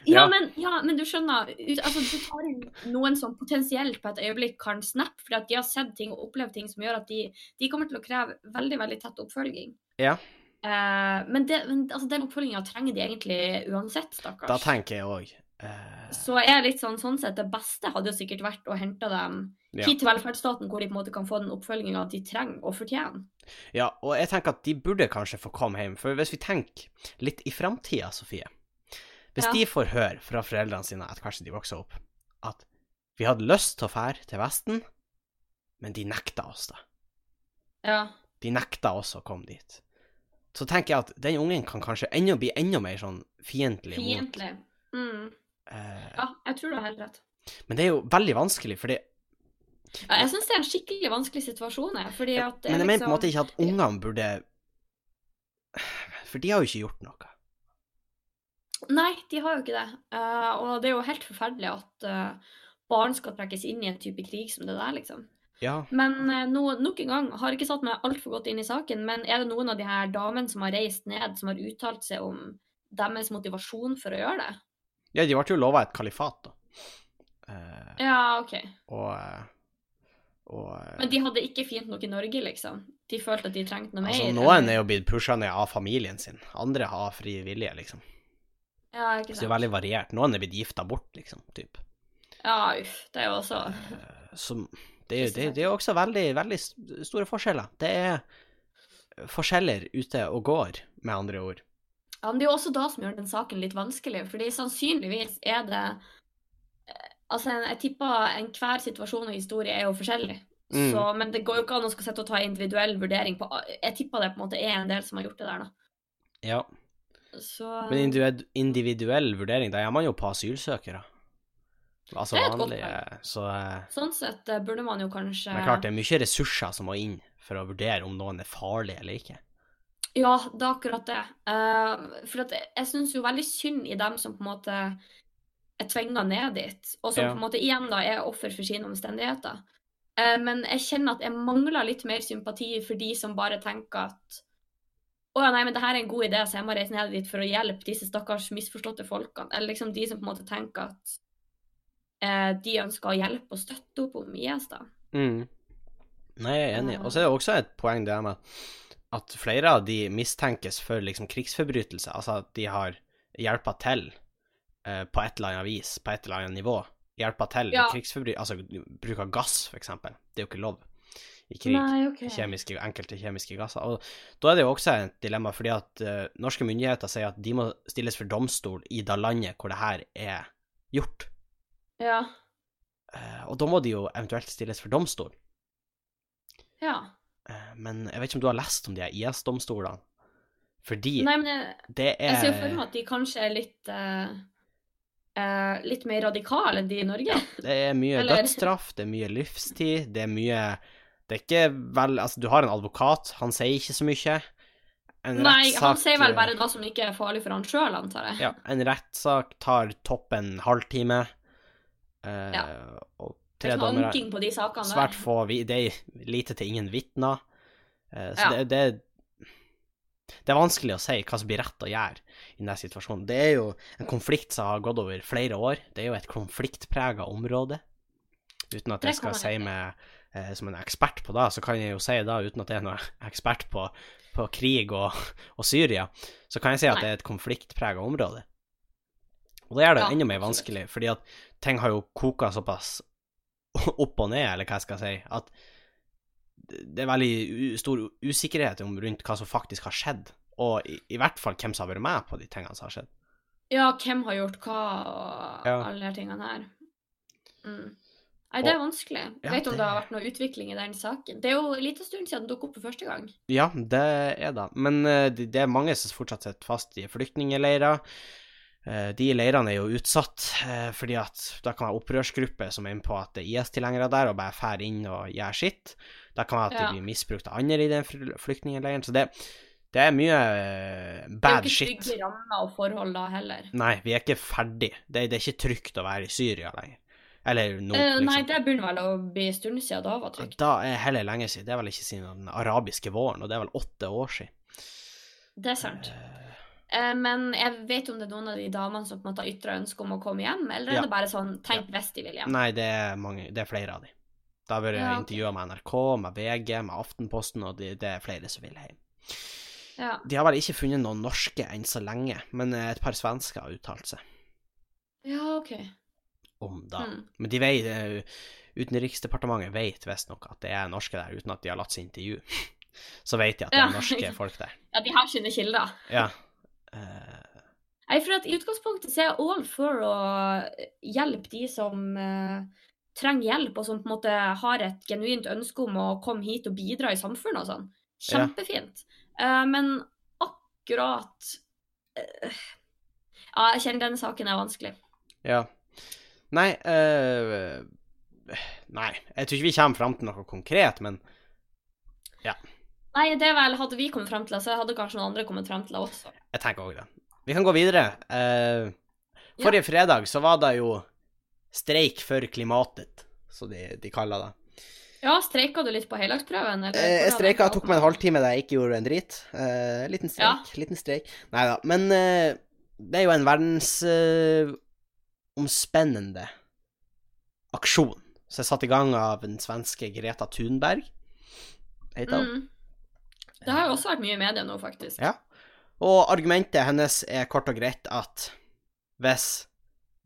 [SPEAKER 2] ja,
[SPEAKER 1] Ja.
[SPEAKER 2] men, ja, men du skjønner, ut- altså, du tar inn noen som potensielt på et øyeblikk kan snappe, fordi at de har sett ting og opplevd ting som gjør at de, de kommer til å kreve veldig, veldig tett oppfølging.
[SPEAKER 1] Ja.
[SPEAKER 2] Eh, men det, men altså, den oppfølginga trenger de egentlig uansett, stakkars.
[SPEAKER 1] Da tenker jeg eh, òg
[SPEAKER 2] Så jeg er litt sånn, sånn sett, det beste hadde jo sikkert vært å hente dem
[SPEAKER 1] Ja.
[SPEAKER 2] hit til velferdsstaten, hvor de på en måte kan få den oppfølginga de trenger og fortjener.
[SPEAKER 1] Ja, og jeg tenker at de burde kanskje få komme hjem, for hvis vi tenker litt i framtida, Sofie Hvis
[SPEAKER 2] Ja.
[SPEAKER 1] de får høre fra foreldrene sine at kanskje de vokser opp, at vi hadde lyst til å fære til Vesten, men de nekta oss det.
[SPEAKER 2] Ja.
[SPEAKER 1] De nekta oss å komme dit. Så tenker jeg at den ungen kan kanskje enda bli enda mer sånn fiendtlig mot
[SPEAKER 2] Fiendtlig. Mm.
[SPEAKER 1] eh,
[SPEAKER 2] Ja, jeg tror du har helt rett.
[SPEAKER 1] Men det er jo veldig vanskelig, fordi
[SPEAKER 2] Ja, jeg syns det er en skikkelig vanskelig situasjon, jeg. Fordi at det er
[SPEAKER 1] Men jeg mener på en
[SPEAKER 2] liksom-
[SPEAKER 1] måte ikke at ungene burde For de har jo ikke gjort noe.
[SPEAKER 2] Nei, de har jo ikke det. Eh, og det er jo helt forferdelig at eh, barn skal trekkes inn i en type krig som det der, liksom.
[SPEAKER 1] Ja.
[SPEAKER 2] Men eh, no, nok en gang, har ikke satt meg altfor godt inn i saken, men er det noen av de her damene som har reist ned, som har uttalt seg om deres motivasjon for å gjøre det?
[SPEAKER 1] Ja, de ble jo lova et kalifat, da. Eh,
[SPEAKER 2] Ja, OK.
[SPEAKER 1] og eh, og eh,
[SPEAKER 2] Men de hadde ikke fint nok i Norge, liksom? De følte at de trengte noe mer?
[SPEAKER 1] altså, noen er jo blitt pusha ned av familien sin, andre har fri vilje, liksom.
[SPEAKER 2] Ja,
[SPEAKER 1] Så
[SPEAKER 2] ikke
[SPEAKER 1] det
[SPEAKER 2] sant.
[SPEAKER 1] er veldig variert. Noen er blitt gifta bort, liksom. Typ.
[SPEAKER 2] Ja, uff. Det er jo også
[SPEAKER 1] Eh, Som, det, er jo- det, det er jo også veldig, veldig s- store forskjeller. Det er forskjeller ute og går, med andre ord.
[SPEAKER 2] Ja, men det er jo også da som gjør den saken litt vanskelig, fordi sannsynligvis er det eh, Altså, jeg tipper enhver situasjon og historie er jo forskjellig.
[SPEAKER 1] Mm.
[SPEAKER 2] Så, men det går jo ikke an å skal sette og ta individuell vurdering på Jeg tipper det på en måte er en del som har gjort det der,
[SPEAKER 1] Ja.
[SPEAKER 2] da. Så
[SPEAKER 1] Men individu- individuell vurdering, da er man jo på asylsøkere. Altså
[SPEAKER 2] Det er et godt
[SPEAKER 1] vanlige. Så eh,
[SPEAKER 2] sånn sett eh, burde man jo kanskje
[SPEAKER 1] Men klart, det er mye ressurser som må inn for å vurdere om noen er farlig eller ikke.
[SPEAKER 2] Ja, det er akkurat det. Eh, for at jeg, jeg syns jo veldig synd i dem som på en måte er tvinga ned dit, og som
[SPEAKER 1] Ja.
[SPEAKER 2] på en måte igjen da er offer for sine omstendigheter. Eh, men jeg kjenner at jeg mangler litt mer sympati for de som bare tenker at å ja, nei, men det her er en god idé, så jeg må reise ned dit for å hjelpe disse stakkars misforståtte folkene. Eller liksom de som på en måte tenker at eh, de ønsker å hjelpe og støtte opp om IS, da.
[SPEAKER 1] Nei, jeg er enig. Og så er det også et poeng det med at flere av de mistenkes for liksom krigsforbrytelser, altså at de har hjelpa til eh, på et eller annet vis, på et eller annet nivå. Hjelpa til
[SPEAKER 2] Ja.
[SPEAKER 1] krigsforbrytelser, altså bruk av gass, for eksempel. Det er jo ikke lov i krig.
[SPEAKER 2] OK.
[SPEAKER 1] kjemiske, enkelte kjemiske gasser. Og da er det jo også et dilemma, fordi at eh, norske myndigheter sier at de må stilles for domstol i det landet hvor det her er gjort.
[SPEAKER 2] Ja.
[SPEAKER 1] Eh, og da må de jo eventuelt stilles for domstol.
[SPEAKER 2] ja.
[SPEAKER 1] Eh, men jeg vet ikke om du har lest om de her IS-domstolene? Fordi
[SPEAKER 2] Nei, men jeg
[SPEAKER 1] det er
[SPEAKER 2] Jeg ser jo for meg at de kanskje er litt eh, eh, Litt mer radikale enn de i Norge.
[SPEAKER 1] Det er mye
[SPEAKER 2] Eller-
[SPEAKER 1] dødsstraff, det er mye livstid, det er mye Det er ikke vel Altså, du har en advokat, han sier ikke så mye. (laughs) En
[SPEAKER 2] Nei, han
[SPEAKER 1] rettssak,
[SPEAKER 2] sier vel
[SPEAKER 1] eh,
[SPEAKER 2] bare det som ikke er farlig for han sjøl, antar jeg.
[SPEAKER 1] Ja, en rettssak tar toppen halvtime. Eh,
[SPEAKER 2] Ja.
[SPEAKER 1] Og
[SPEAKER 2] det
[SPEAKER 1] tre
[SPEAKER 2] er ikke noe
[SPEAKER 1] dommere.
[SPEAKER 2] anking på de sakene
[SPEAKER 1] Svært
[SPEAKER 2] der.
[SPEAKER 1] få vi, Det er lite til ingen vitner. Eh, så
[SPEAKER 2] Ja.
[SPEAKER 1] det, det, det er vanskelig å si hva som blir rett å gjøre i denne situasjonen. Det er jo en konflikt som har gått over flere år. Det er jo et konfliktprega område. Uten at
[SPEAKER 2] Det
[SPEAKER 1] jeg skal
[SPEAKER 2] kan man
[SPEAKER 1] si
[SPEAKER 2] ikke.
[SPEAKER 1] meg eh, som en ekspert på det, så kan jeg jo si det uten at jeg er noen ekspert på, på krig og, og Syria, så kan jeg si at
[SPEAKER 2] Nei.
[SPEAKER 1] det er et konfliktprega område. Og det gjør det jo
[SPEAKER 2] Ja,
[SPEAKER 1] enda mer
[SPEAKER 2] absolutt.
[SPEAKER 1] vanskelig, fordi at ting har jo koka såpass (laughs) opp og ned, eller hva jeg skal si, at det er veldig u- stor usikkerhet om rundt hva som faktisk har skjedd, og i, i hvert fall hvem som har vært med på de tingene som har skjedd.
[SPEAKER 2] Ja, hvem har gjort hva, og
[SPEAKER 1] Ja.
[SPEAKER 2] alle de her tingene her. Mm. Nei, det er vanskelig.
[SPEAKER 1] Ja,
[SPEAKER 2] Vet du om
[SPEAKER 1] det-
[SPEAKER 2] det har vært noe utvikling i den saken? Det er jo en liten stund siden den dukket opp for første gang.
[SPEAKER 1] Ja, det er det. Men eh, det, det er mange som fortsatt sitter fast i flyktningleirer. Eh, De leirene er jo utsatt, eh, fordi at da kan være opprørsgrupper som er inne på at det er IS-tilhengere der, og bare fær inn og gjør sitt. Da kan være at
[SPEAKER 2] Ja.
[SPEAKER 1] de blir misbrukt av andre i den fly- flyktningleiren. Så det, det er mye eh, bad
[SPEAKER 2] det er jo
[SPEAKER 1] shit.
[SPEAKER 2] ikke trygge rammer og forhold da heller.
[SPEAKER 1] Nei, vi er ikke ferdig. Det, det er ikke trygt å være i Syria lenger. Eller nå,
[SPEAKER 2] Eh, nei,
[SPEAKER 1] liksom.
[SPEAKER 2] det begynner vel å bli en stund siden da var trygt.
[SPEAKER 1] Da er heller lenge siden. Det er vel ikke siden den arabiske våren, og det er vel åtte år siden.
[SPEAKER 2] Det er sant.
[SPEAKER 1] Eh,
[SPEAKER 2] Eh, Men jeg vet om det er noen av de damene som på en måte har ytra ønske om å komme hjem, eller
[SPEAKER 1] Ja.
[SPEAKER 2] er det bare sånn tenk hvis de vil hjem?
[SPEAKER 1] Nei, det er, mange, det er flere av de. Da har vært
[SPEAKER 2] Ja, ok.
[SPEAKER 1] intervjua med NRK, med VG, med Aftenposten, og de, det er flere som vil hjem.
[SPEAKER 2] Ja.
[SPEAKER 1] De har vel ikke funnet noen norske enn så lenge, men eh, et par svensker har uttalt seg
[SPEAKER 2] ja, OK.
[SPEAKER 1] om det.
[SPEAKER 2] Hmm.
[SPEAKER 1] Men de vet, eh, Utenriksdepartementet vet visstnok at det er norske der, uten at de har latt seg intervjue. (laughs) Så vet de at det
[SPEAKER 2] Ja.
[SPEAKER 1] er norske
[SPEAKER 2] (laughs)
[SPEAKER 1] folk der.
[SPEAKER 2] Ja, de har sine kilder.
[SPEAKER 1] Ja. Eh,
[SPEAKER 2] Nei, for at i utgangspunktet så er jeg all for å eh, hjelpe de som eh, trenger hjelp, og som på en måte har et genuint ønske om å komme hit og bidra i samfunnet og sånn.
[SPEAKER 1] Ja.
[SPEAKER 2] Kjempefint. Eh, men akkurat eh, Ja, jeg kjenner denne saken er vanskelig.
[SPEAKER 1] ja. Nei eh, Nei, jeg tror ikke vi kommer fram til noe konkret, men
[SPEAKER 2] Nei, det er vel Hadde vi kommet frem til det, så hadde kanskje noen andre kommet frem til det også.
[SPEAKER 1] Jeg tenker òg det. Vi kan gå videre. Eh, forrige fredag så var det jo streik for klimatet, som de, de kaller det.
[SPEAKER 2] Ja, streika du litt på heldagsprøven?
[SPEAKER 1] Eh,
[SPEAKER 2] eller
[SPEAKER 1] jeg
[SPEAKER 2] hvordan
[SPEAKER 1] streika,
[SPEAKER 2] endte
[SPEAKER 1] tok
[SPEAKER 2] opp
[SPEAKER 1] meg en
[SPEAKER 2] med det?
[SPEAKER 1] halvtime der jeg ikke gjorde en drit. Eh, liten streik,
[SPEAKER 2] Ja.
[SPEAKER 1] liten streik. Nei da. Men eh, det er jo en verdensomspennende omspennende aksjon som er satt i gang av den svenske Greta Thunberg. Heter hun.
[SPEAKER 2] Mm. Det har jo også vært mye i media nå, faktisk.
[SPEAKER 1] Ja. Og argumentet hennes er kort og greit at hvis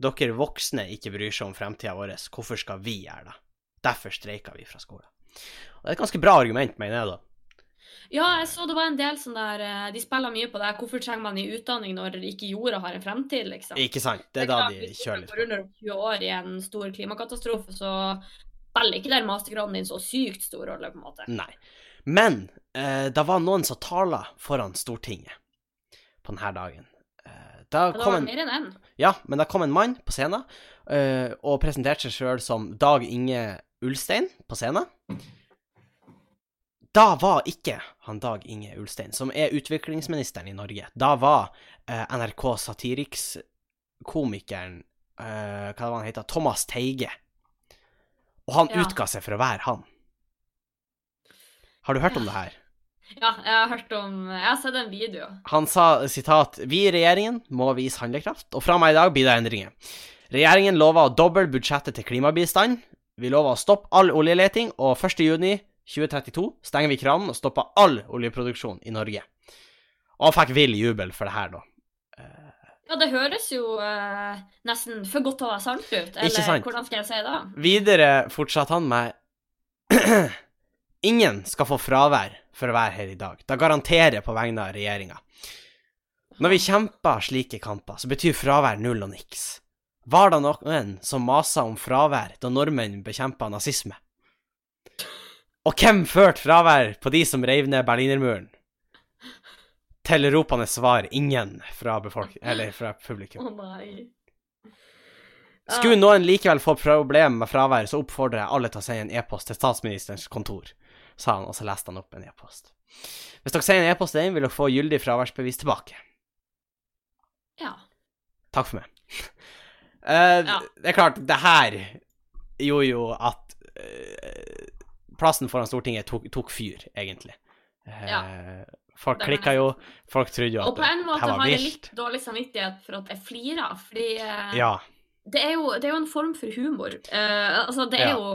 [SPEAKER 1] dere voksne ikke bryr seg om fremtida vår, hvorfor skal vi gjøre det? Derfor streiker vi fra skolen. Og det er et ganske bra argument, mener jeg, da.
[SPEAKER 2] Ja, jeg så det var en del sånn der eh, De spiller mye på det. Hvorfor trenger man i utdanning når ikke jorda har en fremtid, liksom?
[SPEAKER 1] Ikke sant? Det er da
[SPEAKER 2] klart,
[SPEAKER 1] de
[SPEAKER 2] hvis
[SPEAKER 1] kjører
[SPEAKER 2] du
[SPEAKER 1] litt
[SPEAKER 2] går
[SPEAKER 1] på.
[SPEAKER 2] under om 20 år i en stor klimakatastrofe, så spiller ikke der mastergraden din så sykt stor rolle, på en måte.
[SPEAKER 1] Nei. Men eh, det var noen som tala foran Stortinget på denne dagen. Eh, da
[SPEAKER 2] Men det
[SPEAKER 1] kom
[SPEAKER 2] var
[SPEAKER 1] en
[SPEAKER 2] mer enn én.
[SPEAKER 1] Ja, men da kom en mann på scenen eh, og presenterte seg sjøl som Dag Inge Ulstein på scenen. Da var ikke han Dag Inge Ulstein, som er utviklingsministeren i Norge. Da var eh, NRK Satiriks-komikeren eh, Hva var han heter? Thomas Teige. Og han
[SPEAKER 2] Ja.
[SPEAKER 1] utga seg for å være han. Har du hørt om det her?
[SPEAKER 2] Ja, jeg har hørt om Jeg har sett en video.
[SPEAKER 1] Han sa sitat Vi i regjeringen må vise handlekraft, og fra meg i dag blir det endringer. Regjeringen lover å doble budsjettet til klimabistand. Vi lover å stoppe all oljeleting, og 1. juni 2032 stenger vi kranen og stopper all oljeproduksjon i Norge. Og han fikk vill jubel for det her, da.
[SPEAKER 2] Ja, det høres jo eh, nesten for godt til å være sant ut. Eller
[SPEAKER 1] Ikke sant?
[SPEAKER 2] hvordan skal jeg si det?
[SPEAKER 1] Videre fortsatte han med (clears throat) Ingen skal få fravær for å være her i dag. Da garanterer jeg på vegne av regjeringa. Når vi kjemper slike kamper, så betyr fravær null og niks. Var det noen som masa om fravær da nordmenn bekjempa nazisme? Og hvem førte fravær på de som reiv ned Berlinermuren? Tilropende svar ingen fra, befolk eller fra publikum.
[SPEAKER 2] Å nei. Ja.
[SPEAKER 1] Skulle noen likevel få problemer med fravær, så oppfordrer jeg alle til å sende en e-post til statsministerens kontor, sa han, og så leste han opp en e-post. Hvis dere sender en e-post til den, vil dere få gyldig fraværsbevis tilbake.
[SPEAKER 2] Ja.
[SPEAKER 1] Takk for meg. (laughs) Eh,
[SPEAKER 2] Ja.
[SPEAKER 1] Det er klart, det her gjorde jo at eh, plassen foran Stortinget tok, tok fyr, egentlig. Eh, Folk
[SPEAKER 2] det kan jeg
[SPEAKER 1] klikka jo, folk trodde jo
[SPEAKER 2] Og
[SPEAKER 1] at
[SPEAKER 2] på en måte
[SPEAKER 1] det her
[SPEAKER 2] har
[SPEAKER 1] var
[SPEAKER 2] jeg
[SPEAKER 1] vilt.
[SPEAKER 2] litt dårlig samvittighet for at jeg flirer, fordi eh,
[SPEAKER 1] Ja,
[SPEAKER 2] det, er jo, det er jo en form for humor. Eh, altså, det er
[SPEAKER 1] Ja.
[SPEAKER 2] jo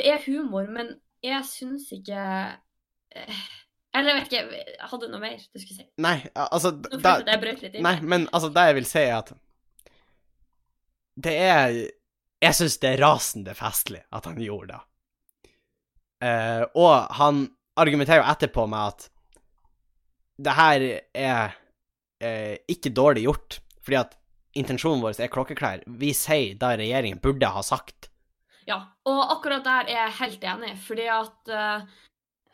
[SPEAKER 2] Det er humor, men jeg syns ikke eh, Eller jeg vet ikke, jeg hadde noe mer du skulle si.
[SPEAKER 1] nei, altså
[SPEAKER 2] Nå
[SPEAKER 1] da,
[SPEAKER 2] følte jeg at jeg brøt litt inn.
[SPEAKER 1] Nei, men altså, det jeg vil si, er at Det er Jeg syns det er rasende festlig at han gjorde det. Eh, og han argumenterer jo etterpå med at det her er eh, ikke dårlig gjort, fordi at intensjonen vår er klokkeklær. Vi sier det regjeringen burde ha sagt.
[SPEAKER 2] Ja, og akkurat der er jeg helt enig, fordi at eh,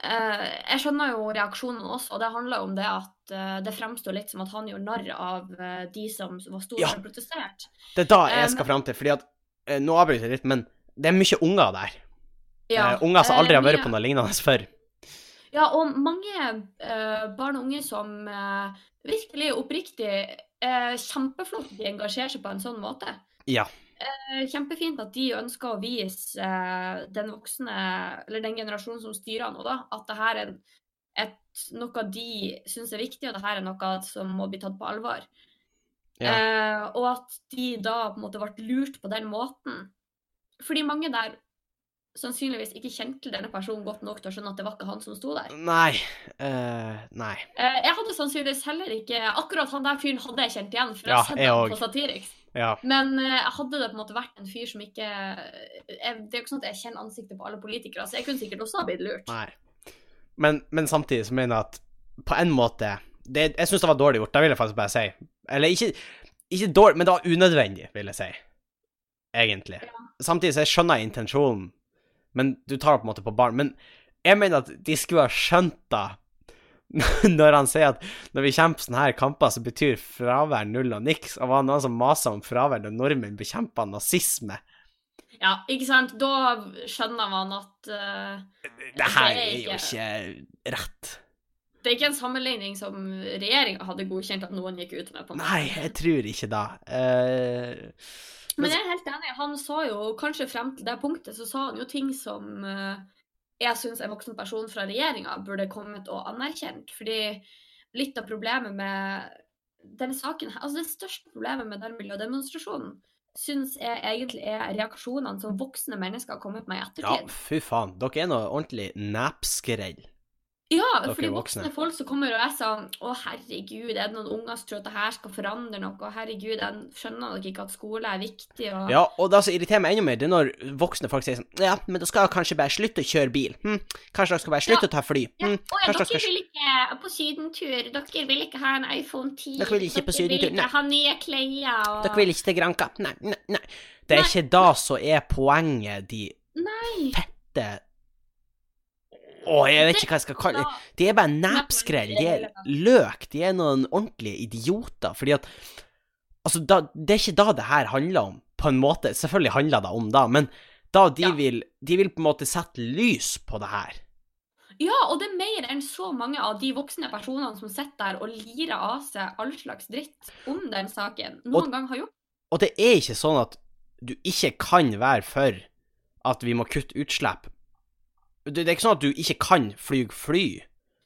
[SPEAKER 2] eh, Jeg skjønner jo reaksjonen også, og det handler jo om det at eh, det fremstår litt som at han gjorde narr av eh, de som var store
[SPEAKER 1] Ja.
[SPEAKER 2] og protesterte.
[SPEAKER 1] Det er da
[SPEAKER 2] Eh,
[SPEAKER 1] jeg skal fram til, fordi at eh, Nå avbryter jeg litt, men det er mye unger der. Eh, unger som
[SPEAKER 2] eh,
[SPEAKER 1] aldri har
[SPEAKER 2] mye-
[SPEAKER 1] vært på noe lignende før.
[SPEAKER 2] Ja, og mange eh, barn og unge som eh, virkelig oppriktig uh, Kjempeflott at de engasjerer seg på en sånn måte.
[SPEAKER 1] Ja.
[SPEAKER 2] Eh, kjempefint at de ønsker å vise eh, den voksne, eller den generasjonen som styrer nå, da, at det her er et, noe de syns er viktig, og det her er noe som må bli tatt på alvor.
[SPEAKER 1] Ja.
[SPEAKER 2] Eh, og at de da på en måte ble lurt på den måten. Fordi mange der sannsynligvis ikke kjente denne personen godt nok til å skjønne at det var ikke han som sto der.
[SPEAKER 1] Nei. eh, nei.
[SPEAKER 2] Eh, Jeg hadde sannsynligvis heller ikke Akkurat han der fyren hadde jeg kjent igjen, for jeg
[SPEAKER 1] Ja,
[SPEAKER 2] har sett
[SPEAKER 1] jeg
[SPEAKER 2] ham
[SPEAKER 1] òg.
[SPEAKER 2] på Satiriks.
[SPEAKER 1] Ja.
[SPEAKER 2] Men eh, hadde det på en måte vært en fyr som ikke eh, jeg, Det er jo ikke sånn at jeg kjenner ansiktet på alle politikere, så jeg kunne sikkert også ha blitt lurt.
[SPEAKER 1] Nei. Men, men samtidig så mener jeg at på en måte det, Jeg syns det var dårlig gjort, det vil jeg faktisk bare si. Eller ikke, ikke dårlig, men det var unødvendig, vil jeg si. Egentlig. Samtidig så jeg skjønner intensjonen, men du tar det på en måte på barn. Men jeg mener at de skulle ha skjønt det (laughs) når han sier at når vi kjemper sånne her kamper, så betyr fravær null og niks. Og var det noen som masa om fravær da nordmenn bekjempa nazisme?
[SPEAKER 2] Ja, ikke sant? Da skjønner man at eh,
[SPEAKER 1] Det her
[SPEAKER 2] Det er
[SPEAKER 1] er jo ikke rett.
[SPEAKER 2] det er ikke en sammenligning som regjeringa hadde godkjent at noen gikk ut med. på en måte.
[SPEAKER 1] Nei, jeg tror ikke det. Eh,
[SPEAKER 2] Men jeg er helt enig. Han sa jo kanskje frem til det punktet, så sa han jo ting som eh, jeg syns en voksen person fra regjeringa burde kommet og anerkjent. Fordi litt av problemet med denne saken her, altså det største problemet med den miljødemonstrasjonen, syns jeg egentlig er reaksjonene som voksne mennesker har kommet med i
[SPEAKER 1] ja,
[SPEAKER 2] ettertid.
[SPEAKER 1] fy faen. Dere er noe ordentlig nepskrell.
[SPEAKER 2] Ja,
[SPEAKER 1] Dere
[SPEAKER 2] fordi
[SPEAKER 1] voksne.
[SPEAKER 2] voksne folk som kommer og er sånn Å, herregud, er det noen unger som tror at det her skal forandre noe? Herregud, jeg skjønner dere ikke at skole er viktig? Og...
[SPEAKER 1] Ja, og det som irriterer meg enda mer, det er når voksne folk sier sånn Ja, men da skal jeg kanskje bare slutte å kjøre bil. Hm, kanskje dere skal bare slutte å ta fly.
[SPEAKER 2] Ja.
[SPEAKER 1] Hm,
[SPEAKER 2] Å
[SPEAKER 1] kanskje
[SPEAKER 2] ja, dere
[SPEAKER 1] dere skal
[SPEAKER 2] vil ikke på sydentur. Dere vil ikke ha en iPhone 10.
[SPEAKER 1] Dere vil ikke på sydentur,
[SPEAKER 2] Dere vil
[SPEAKER 1] nei.
[SPEAKER 2] ikke ha nye klær. Og...
[SPEAKER 1] Dere vil ikke til Granka. Nei, nei, nei. Det er
[SPEAKER 2] Nei.
[SPEAKER 1] ikke da som er poenget, de
[SPEAKER 2] Nei.
[SPEAKER 1] fette Å, jeg vet ikke hva jeg skal kalle
[SPEAKER 2] Da,
[SPEAKER 1] det. De er bare nepskrell. De er løk. De er noen ordentlige idioter. Fordi at Altså, da, det er ikke da det her handler om, på en måte. Selvfølgelig handler det om da, men da de
[SPEAKER 2] Ja.
[SPEAKER 1] vil De vil på en måte sette lys på det her.
[SPEAKER 2] ja, og det er mer enn så mange av de voksne personene som sitter der og lirer av seg all slags dritt om den saken noen
[SPEAKER 1] Og-
[SPEAKER 2] gang har gjort.
[SPEAKER 1] Og det er ikke sånn at du ikke kan være for at vi må kutte utslipp. Det, det er ikke sånn at du ikke kan fly fly.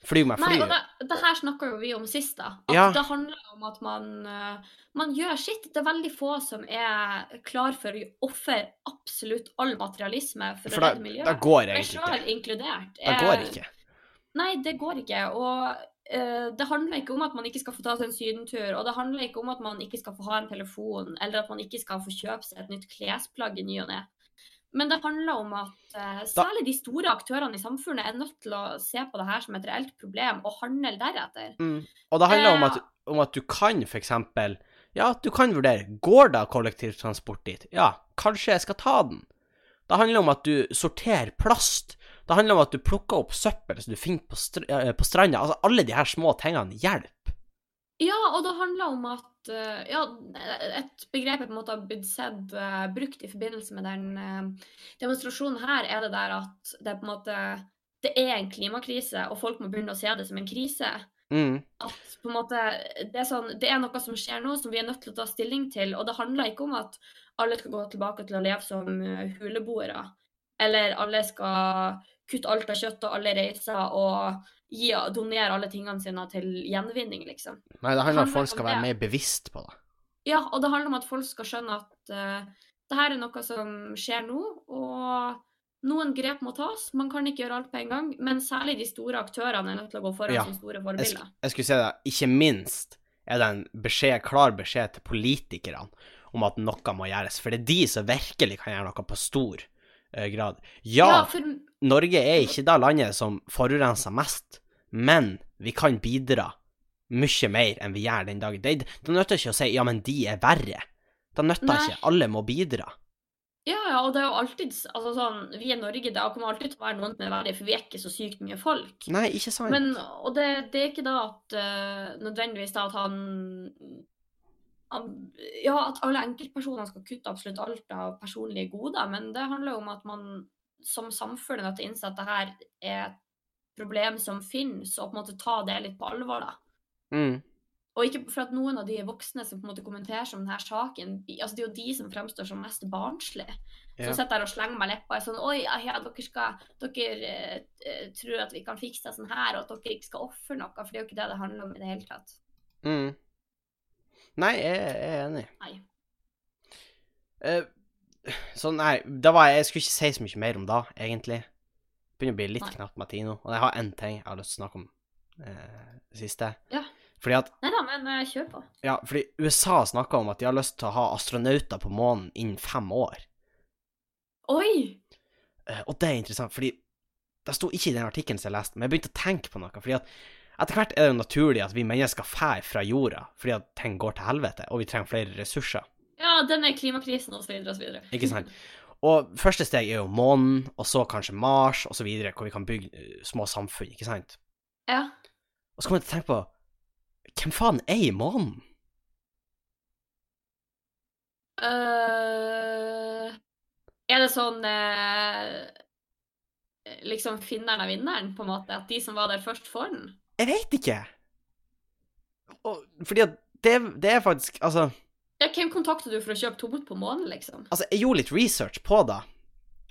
[SPEAKER 1] Fly med
[SPEAKER 2] Nei,
[SPEAKER 1] fly.
[SPEAKER 2] og det, det her snakka jo vi om sist, da. At
[SPEAKER 1] Ja.
[SPEAKER 2] det handler om at man, eh, man gjør sitt. Det er veldig få som er klar for å ofre absolutt all materialisme for,
[SPEAKER 1] For
[SPEAKER 2] å
[SPEAKER 1] da,
[SPEAKER 2] redde miljøet.
[SPEAKER 1] da går
[SPEAKER 2] Meg
[SPEAKER 1] det egentlig ikke.
[SPEAKER 2] selv inkludert. eh,
[SPEAKER 1] Da
[SPEAKER 2] er-
[SPEAKER 1] går det ikke.
[SPEAKER 2] Nei, det går ikke. Og eh, det handler ikke om at man ikke skal få ta seg en sydentur, og det handler ikke om at man ikke skal få ha en telefon, eller at man ikke skal få kjøpe seg et nytt klesplagg i ny og ne. Men det handler om at eh, særlig de store aktørene i samfunnet er nødt til å se på det her som et reelt problem, og handle deretter.
[SPEAKER 1] Mm. Og det handler om at, om at du kan for eksempel Ja, du kan vurdere Går det kollektivtransport dit? Ja, kanskje jeg skal ta den. Det handler om at du sorterer plast. Det handler om at du plukker opp søppel som du finner på, str eh, på stranda. Altså, alle de her små tingene hjelper.
[SPEAKER 2] Ja, og det handler om at eh, ja, et begrep jeg på en måte har blitt sett eh, brukt i forbindelse med den eh, demonstrasjonen her, er det der at det er på en måte det er en klimakrise, og folk må begynne å se det som en krise.
[SPEAKER 1] Mm.
[SPEAKER 2] At på en måte, det er, sånn, det er noe som skjer nå som vi er nødt til å ta stilling til. Og det handler ikke om at alle skal gå tilbake til å leve som eh, huleboere. Eller alle skal kutte alt av kjøtt og alle reiser og gi, donere alle tingene sine til gjenvinning, liksom.
[SPEAKER 1] Nei, det handler om at folk
[SPEAKER 2] Handler
[SPEAKER 1] skal
[SPEAKER 2] om
[SPEAKER 1] være
[SPEAKER 2] det.
[SPEAKER 1] mer bevisst på det.
[SPEAKER 2] Ja, og det handler om at folk skal skjønne at eh, det her er noe som skjer nå, og noen grep må tas. Man kan ikke gjøre alt på en gang, men særlig de store aktørene er nødt til å gå foran
[SPEAKER 1] Ja.
[SPEAKER 2] som store
[SPEAKER 1] Jeg, sk
[SPEAKER 2] forbilder.
[SPEAKER 1] jeg skulle si det, ikke minst er det en beskjed, klar beskjed til politikerne om at noe må gjøres, for det er de som virkelig kan gjøre noe på stor eh, grad. ja,
[SPEAKER 2] for,
[SPEAKER 1] Norge er ikke det landet som forurenser mest, men vi kan bidra mye mer enn vi gjør den dagen. Det, det nytter ikke å si 'ja, men de er verre'. Det nytter
[SPEAKER 2] Nei.
[SPEAKER 1] ikke. Alle må bidra.
[SPEAKER 2] ja, ja, og det er jo alltid s- altså, sånn Vi i Norge, det kommer alltid til å være noen som er verre, for vi er ikke så sykt mye folk.
[SPEAKER 1] Nei, ikke sant?
[SPEAKER 2] Men, og det, det er ikke da at eh, nødvendigvis da at han, han Ja, at alle enkeltpersoner skal kutte absolutt alt av personlige goder, men det handler jo om at man som samfunn er nødt til å innse at det her er et problem som finnes, og på en måte ta det litt på alvor, da.
[SPEAKER 1] mm.
[SPEAKER 2] Og ikke for at noen av de voksne som på en måte kommenterer som denne saken de- altså Det er jo de som fremstår som mest barnslige.
[SPEAKER 1] Ja.
[SPEAKER 2] Som sitter der og slenger meg leppa og er sånn Oi, ja, ja, dere, skal, dere eh, eh, tror at vi kan fikse det sånn her, og at dere ikke skal ofre noe. For det er jo ikke det det handler om i det hele tatt.
[SPEAKER 1] Mm. Nei, jeg, jeg er enig.
[SPEAKER 2] Nei.
[SPEAKER 1] Eh, så nei, da var jeg, jeg skulle ikke si så mye mer om da, egentlig. Begynner å bli litt
[SPEAKER 2] Nei.
[SPEAKER 1] knapt med tid nå. Og jeg har én ting jeg har lyst til å snakke om eh, siste.
[SPEAKER 2] Ja.
[SPEAKER 1] Fordi at
[SPEAKER 2] Nei da, men eh, kjør på.
[SPEAKER 1] Ja, fordi USA snakker om at de har lyst til å ha astronauter på månen innen fem år.
[SPEAKER 2] Oi!
[SPEAKER 1] Eh, Og det er interessant, fordi det sto ikke i den artikkelen som jeg leste, men jeg begynte å tenke på noe. fordi at etter hvert er det jo naturlig at vi mennesker fær fra jorda fordi at ting går til helvete, og vi trenger flere ressurser.
[SPEAKER 2] Ja, den er klimakrisen og så videre og så videre.
[SPEAKER 1] Ikke sant? Og første steg er jo månen, og så kanskje Mars, og så videre, hvor vi kan bygge eh, små samfunn, ikke sant?
[SPEAKER 2] Ja.
[SPEAKER 1] Og så kommer jeg til å tenke på Hvem faen er i månen?
[SPEAKER 2] Eh, er det sånn eh, Liksom finneren av vinneren, på en måte? At de som var der først, får den?
[SPEAKER 1] Jeg veit ikke. Og, fordi at det, det er faktisk Altså
[SPEAKER 2] Ja, hvem kontakter du for å kjøpe tomt på månen, liksom?
[SPEAKER 1] Altså, jeg gjorde litt research på det.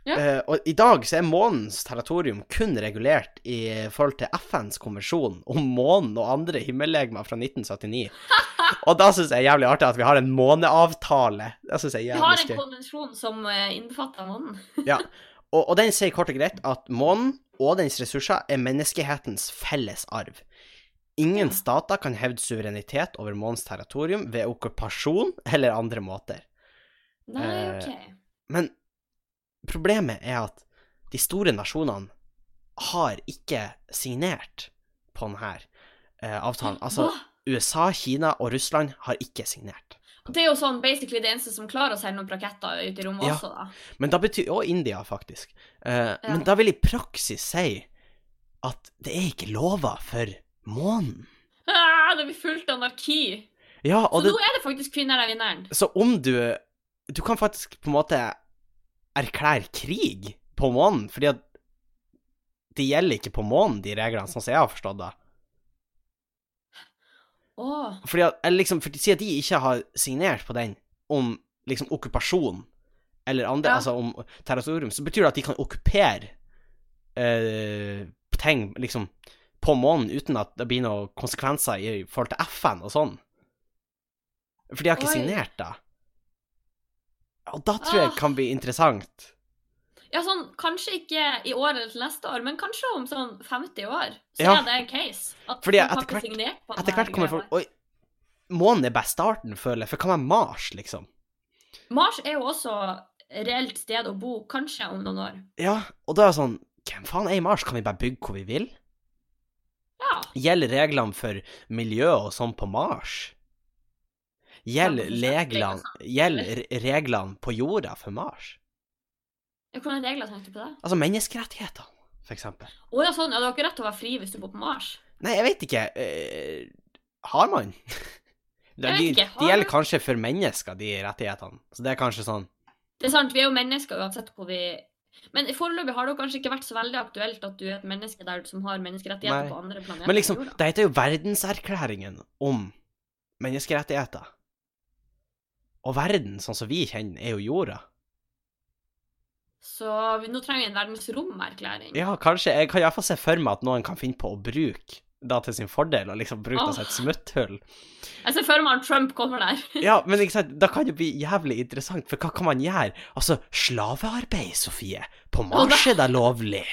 [SPEAKER 2] Ja.
[SPEAKER 1] Eh, og i dag så er månens territorium kun regulert i forhold til FNs konvensjon om månen og andre himmellegemer fra
[SPEAKER 2] (laughs)
[SPEAKER 1] 1979. og da syns jeg er jævlig artig at vi har en måneavtale. Det synes jeg
[SPEAKER 2] Vi
[SPEAKER 1] er
[SPEAKER 2] har
[SPEAKER 1] jævlig
[SPEAKER 2] en
[SPEAKER 1] skøy.
[SPEAKER 2] konvensjon som eh, innbefatter månen.
[SPEAKER 1] Og, og den sier kort og greit at månen og dens ressurser er menneskehetens felles arv. Ingen stater kan hevde suverenitet over månens territorium ved okkupasjon eller andre måter.
[SPEAKER 2] Nei,
[SPEAKER 1] Eh,
[SPEAKER 2] OK.
[SPEAKER 1] Men problemet er at de store nasjonene har ikke signert på denne eh, avtalen. Altså,
[SPEAKER 2] Hva?
[SPEAKER 1] USA, Kina og Russland har ikke signert.
[SPEAKER 2] Det er jo sånn basically det eneste som klarer å sende noen raketter ut i rommet
[SPEAKER 1] Ja.
[SPEAKER 2] også, da.
[SPEAKER 1] Men da betyr Og India, faktisk. Eh, Men da vil i praksis si at det er ikke lova for månen.
[SPEAKER 2] Ah, det blir fullt anarki.
[SPEAKER 1] Ja,
[SPEAKER 2] Så
[SPEAKER 1] og det,
[SPEAKER 2] nå er det faktisk kvinner er vinneren.
[SPEAKER 1] så om du Du kan faktisk på en måte erklære krig på månen, fordi at det gjelder ikke på månen, de reglene, sånn som jeg har forstått det.
[SPEAKER 2] Åh.
[SPEAKER 1] Fordi at, eller liksom, for Si at de ikke har signert på den om liksom okkupasjon eller andre,
[SPEAKER 2] Ja.
[SPEAKER 1] altså om territorium, så betyr det at de kan okkupere eh, ting liksom på månen uten at det blir noen konsekvenser i forhold til FN og sånn. For de har ikke
[SPEAKER 2] Oi.
[SPEAKER 1] signert det. Og da tror jeg
[SPEAKER 2] Ah.
[SPEAKER 1] kan bli interessant.
[SPEAKER 2] Ja, sånn, kanskje ikke i år eller til neste år, men kanskje om sånn 50 år. Så
[SPEAKER 1] Ja.
[SPEAKER 2] er det en case. At
[SPEAKER 1] Fordi
[SPEAKER 2] folk
[SPEAKER 1] etter
[SPEAKER 2] har ikke
[SPEAKER 1] hvert-
[SPEAKER 2] signert på
[SPEAKER 1] Etter
[SPEAKER 2] denne
[SPEAKER 1] hvert kommer
[SPEAKER 2] greia
[SPEAKER 1] folk Oi, månen er bare starten, føler jeg. For hva med Mars, liksom?
[SPEAKER 2] her. Mars er jo også reelt sted å bo, kanskje om noen år.
[SPEAKER 1] Ja, og da er det sånn Hvem faen er i Mars? Kan vi bare bygge hvor vi vil?
[SPEAKER 2] Ja.
[SPEAKER 1] Gjelder reglene for miljø og sånn på Mars? Gjelder
[SPEAKER 2] Ja, for eksempel,
[SPEAKER 1] reglene, gjelder re- reglene på jorda for Mars?
[SPEAKER 2] Hvordan er reglene tenkte du på det?
[SPEAKER 1] Altså menneskerettighetene, for eksempel.
[SPEAKER 2] Å ja, sånn. Ja, du har ikke rett til å være fri hvis du bor på Mars.
[SPEAKER 1] Nei, jeg vet ikke. eh, har man? De,
[SPEAKER 2] Jeg
[SPEAKER 1] de
[SPEAKER 2] vet ikke, har
[SPEAKER 1] gjelder
[SPEAKER 2] man?
[SPEAKER 1] kanskje for mennesker, de rettighetene. Så det er kanskje sånn
[SPEAKER 2] Det er sant, vi er jo mennesker uansett hvor vi Men foreløpig har det jo kanskje ikke vært så veldig aktuelt at du er et menneske der som har menneskerettigheter
[SPEAKER 1] Nei.
[SPEAKER 2] på andre planeter.
[SPEAKER 1] Men
[SPEAKER 2] enn
[SPEAKER 1] liksom,
[SPEAKER 2] jorda.
[SPEAKER 1] det heter jo Verdenserklæringen om menneskerettigheter. Og verden, sånn som vi kjenner, er jo jorda.
[SPEAKER 2] Så vi, nå trenger vi en verdensromerklæring.
[SPEAKER 1] Ja, kanskje. Jeg kan iallfall se for meg at noen kan finne på å bruke da til sin fordel, og liksom bruke det som et smutthull.
[SPEAKER 2] Jeg ser for meg at Trump kommer der.
[SPEAKER 1] Ja, men ikke sant, da kan det bli jævlig interessant, for hva kan man gjøre? Altså, slavearbeid, Sofie. På Mars er det lovlig.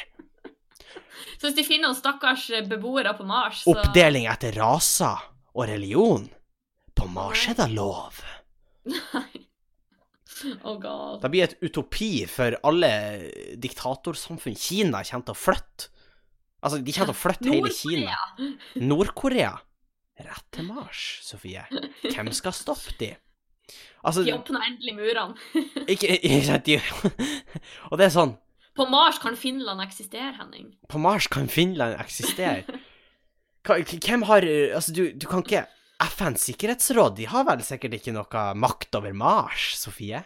[SPEAKER 2] Så hvis de finner noen stakkars eh, beboere på Mars, så
[SPEAKER 1] Oppdeling etter raser og religion. På Mars er det lov.
[SPEAKER 2] Oh god.
[SPEAKER 1] Det blir et utopi for alle diktatorsamfunn. Kina kommer til å flytte. Altså, de kommer til å flytte hele Kina. Nord-Korea. Rett til Mars, Sofie. Hvem skal stoppe de? Altså,
[SPEAKER 2] De åpner endelig murene.
[SPEAKER 1] ikke, ikke sant, de (laughs) Og det er sånn
[SPEAKER 2] På Mars kan Finland eksistere, Henning.
[SPEAKER 1] På Mars kan Finland eksistere. Hva- k- Hvem har eh, Altså, du, du kan ikke FNs sikkerhetsråd de har vel sikkert ikke noe makt over Mars, Sofie?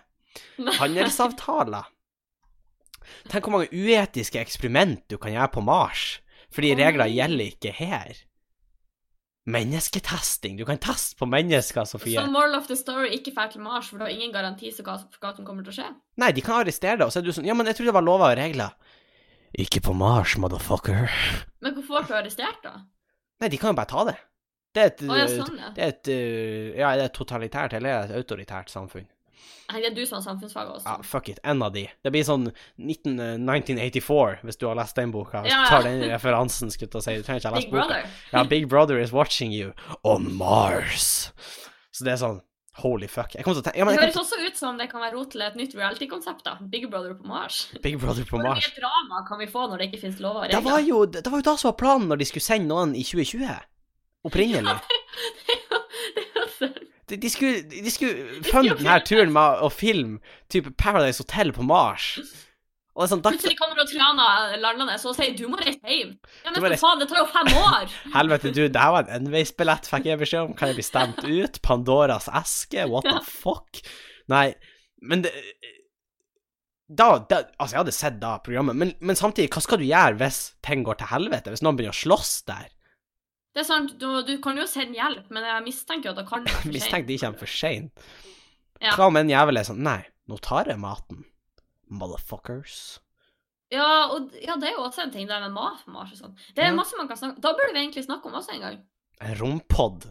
[SPEAKER 2] Nei.
[SPEAKER 1] Handelsavtaler. Tenk hvor mange uetiske eksperiment du kan gjøre på Mars, fordi
[SPEAKER 2] Å,
[SPEAKER 1] regler
[SPEAKER 2] nei.
[SPEAKER 1] gjelder ikke her. Mennesketesting. Du kan teste på mennesker, Sofie.
[SPEAKER 2] Så moral of the story ikke drar til Mars, for du har ingen garanti for hva for hva som kommer til å skje.
[SPEAKER 1] Nei, de kan arrestere deg, og så er du sånn Ja, men jeg trodde det var lover og regler. Ikke på Mars, motherfucker.
[SPEAKER 2] Men hvorfor ble du arrestert, da?
[SPEAKER 1] Nei, de kan jo bare ta det. Det er et,
[SPEAKER 2] Å ja, sånn, ja.
[SPEAKER 1] det er et eh, Ja, det er et totalitært eller et autoritært samfunn.
[SPEAKER 2] Nei, Det er du som har samfunnsfag også.
[SPEAKER 1] Ja, fuck it. En av de. Det blir sånn 19, eh, 1984, hvis du har lest den boka. Hvis
[SPEAKER 2] Ja,
[SPEAKER 1] du
[SPEAKER 2] ja.
[SPEAKER 1] tar den referansen, skulle jeg til å si. Du trenger ikke å lese
[SPEAKER 2] Big
[SPEAKER 1] boka.
[SPEAKER 2] Brother.
[SPEAKER 1] Ja, Big Brother is watching you on Mars. Så det er sånn Holy fuck. Jeg kommer til å tenke ja, men
[SPEAKER 2] Det
[SPEAKER 1] jeg
[SPEAKER 2] høres
[SPEAKER 1] kommer
[SPEAKER 2] også ut som det kan være rot til et nytt reality-konsept. da. Big Brother på Mars.
[SPEAKER 1] til Big Brother på
[SPEAKER 2] Hvor
[SPEAKER 1] Mars.
[SPEAKER 2] mye drama kan vi få når det ikke finnes lover og
[SPEAKER 1] Det var
[SPEAKER 2] regler?
[SPEAKER 1] jo det var jo da som var planen når de skulle sende noen i 2020. Opprinnelig.
[SPEAKER 2] Det er (laughs) altså-
[SPEAKER 1] De, de skulle, de skulle
[SPEAKER 2] skulle
[SPEAKER 1] funde denne turen med å filme type Paradise Hotel på Mars. Og det er sånn,
[SPEAKER 2] (laughs)
[SPEAKER 1] da,
[SPEAKER 2] Plutselig kommer Triana landende og sier du må reise hjem. Ja,
[SPEAKER 1] Du må
[SPEAKER 2] men for
[SPEAKER 1] reise-
[SPEAKER 2] faen, det tar jo fem år!
[SPEAKER 1] Helvete, du, det her var en enveisbillett, fikk jeg beskjed om. Kan jeg bli stemt ut? Pandoras eske? What the fuck? Nei, men det da, da, altså Jeg hadde sett da programmet, men, men samtidig, hva skal du gjøre hvis ting går til helvete? Hvis noen begynner å slåss der?
[SPEAKER 2] Det er sant, du, du kan jo sende hjelp, men jeg mistenker jo at det kan være for
[SPEAKER 1] Mistenk
[SPEAKER 2] sent.
[SPEAKER 1] de kommer for seint.
[SPEAKER 2] Ja.
[SPEAKER 1] Hva om en jævel er sånn Nei, nå tar jeg maten. Motherfuckers.
[SPEAKER 2] Ja, og, ja, det er jo også en ting, det med mat på Mars og sånn. Det er
[SPEAKER 1] Ja.
[SPEAKER 2] masse man kan snakke Da burde vi egentlig snakke om også en gang.
[SPEAKER 1] En rompod.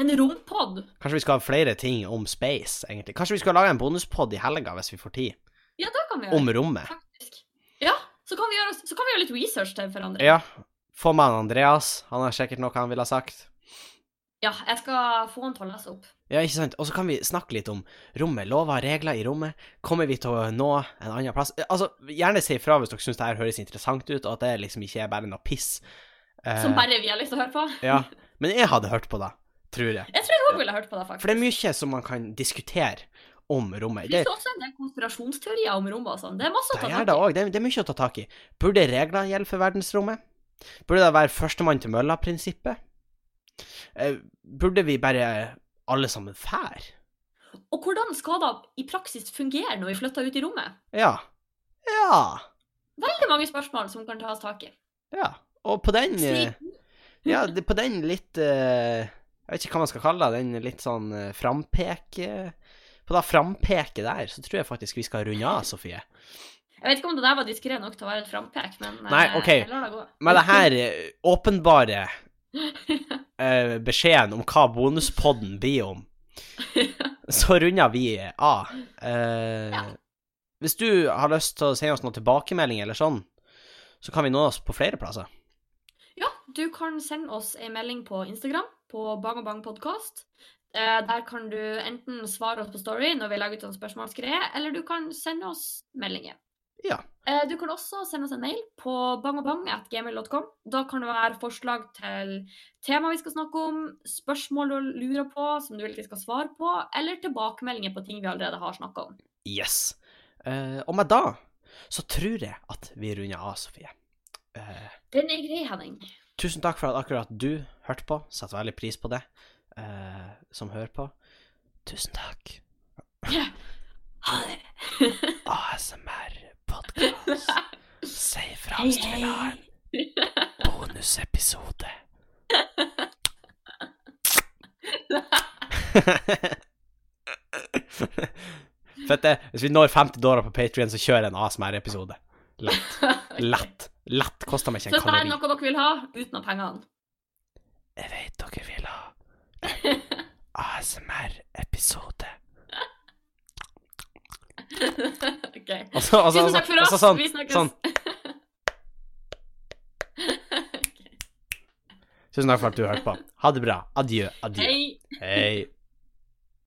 [SPEAKER 2] En rompod.
[SPEAKER 1] Kanskje vi skal ha flere ting om space, egentlig. Kanskje vi skal lage en bonuspod i helga, hvis vi får tid,
[SPEAKER 2] Ja, det kan vi gjøre.
[SPEAKER 1] om rommet.
[SPEAKER 2] Faktisk. Ja, Så kan vi gjøre, så kan vi gjøre litt research til hverandre.
[SPEAKER 1] Ja, få med han Andreas. Han har sikkert noe han ville ha sagt.
[SPEAKER 2] Ja, jeg skal få han til å lese opp.
[SPEAKER 1] Ja, ikke sant? Og så kan vi snakke litt om rommet. Lover, regler i rommet. Kommer vi til å nå en annen plass? Eh, Altså, gjerne si ifra hvis dere syns det her høres interessant ut, og at det liksom ikke er bare noe piss. Eh,
[SPEAKER 2] Som bare vi har lyst til å høre på.
[SPEAKER 1] Ja. Men jeg hadde hørt på det, tror jeg.
[SPEAKER 2] (laughs) Jeg tror jeg òg ville hørt på det, faktisk.
[SPEAKER 1] For det er mye som man kan diskutere om rommet.
[SPEAKER 2] Det
[SPEAKER 1] Det,
[SPEAKER 2] finnes jo også en del konspirasjonsteorier om rommet og sånn. Det er masse å
[SPEAKER 1] det
[SPEAKER 2] ta
[SPEAKER 1] gjør
[SPEAKER 2] tak
[SPEAKER 1] det
[SPEAKER 2] i.
[SPEAKER 1] òg. Det, er- det er mye å ta tak i. Burde regler gjelde for verdensrommet? Burde det være førstemann til mølla-prinsippet? Eh, Burde vi bare alle sammen fære?
[SPEAKER 2] Og hvordan skal det i praksis fungere når vi flytter ut i rommet?
[SPEAKER 1] Ja. Ja.
[SPEAKER 2] Veldig mange spørsmål som kan tas tak i.
[SPEAKER 1] Ja. Og på den eh,
[SPEAKER 2] Siden-
[SPEAKER 1] Ja, det, på den litt eh, Jeg vet ikke hva man skal kalle det, den litt sånn eh, frampek... eh, På det frampeket der, så tror jeg faktisk vi skal runde av, Sofie.
[SPEAKER 2] Jeg vet ikke om det der var diskré nok til å være et frampek, men eh,
[SPEAKER 1] Nei, ok.
[SPEAKER 2] jeg lar det gå.
[SPEAKER 1] Med det her eh, åpenbare eh, beskjeden om hva bonuspodden blir om, så runder vi av. Eh,
[SPEAKER 2] Ja.
[SPEAKER 1] Hvis du har lyst til å sende oss noen tilbakemelding eller sånn, så kan vi nå oss på flere plasser.
[SPEAKER 2] Ja, du kan sende oss en melding på Instagram, på Bang og Bang podcast. Eh, Der kan du enten svare oss på story når vi legger ut en spørsmålsgreie, eller du kan sende oss meldinger.
[SPEAKER 1] Ja.
[SPEAKER 2] Eh, Du kan også sende oss en mail på bangobang.gmail.com. Da kan det være forslag til tema vi skal snakke om, spørsmål du lurer på som du vil at vi skal svare på, eller tilbakemeldinger på ting vi allerede har snakka om.
[SPEAKER 1] Yes. Eh, og med da så tror jeg at vi runder av, Sofie. Eh,
[SPEAKER 2] Den er grei, Henning.
[SPEAKER 1] Tusen takk for at akkurat du hørte på. Setter veldig pris på det, eh, som hører på. Tusen takk.
[SPEAKER 2] Ha det. (laughs)
[SPEAKER 1] ASMR-podkast. Si fra hvis du vil ha en
[SPEAKER 2] (laughs)
[SPEAKER 1] bonusepisode. Fett det. Hvis vi når 50 dollar på Patrion, så kjører jeg en ASMR-episode. Lett. Lett. Lett. Koster meg
[SPEAKER 2] Så
[SPEAKER 1] ikke en
[SPEAKER 2] dette er
[SPEAKER 1] kalori.
[SPEAKER 2] noe dere vil ha uten av pengene.
[SPEAKER 1] Jeg vet dere vil ha
[SPEAKER 2] (laughs)
[SPEAKER 1] ASMR-episode.
[SPEAKER 2] (laughs) Ok.
[SPEAKER 1] Og så, og så,
[SPEAKER 2] Tusen takk for
[SPEAKER 1] og
[SPEAKER 2] oss.
[SPEAKER 1] så sånn,
[SPEAKER 2] Vi snakkes.
[SPEAKER 1] sånn. Tusen takk for at du hørte på. Ha det bra. Adjø. Adjø.
[SPEAKER 2] Hei.
[SPEAKER 1] Hei.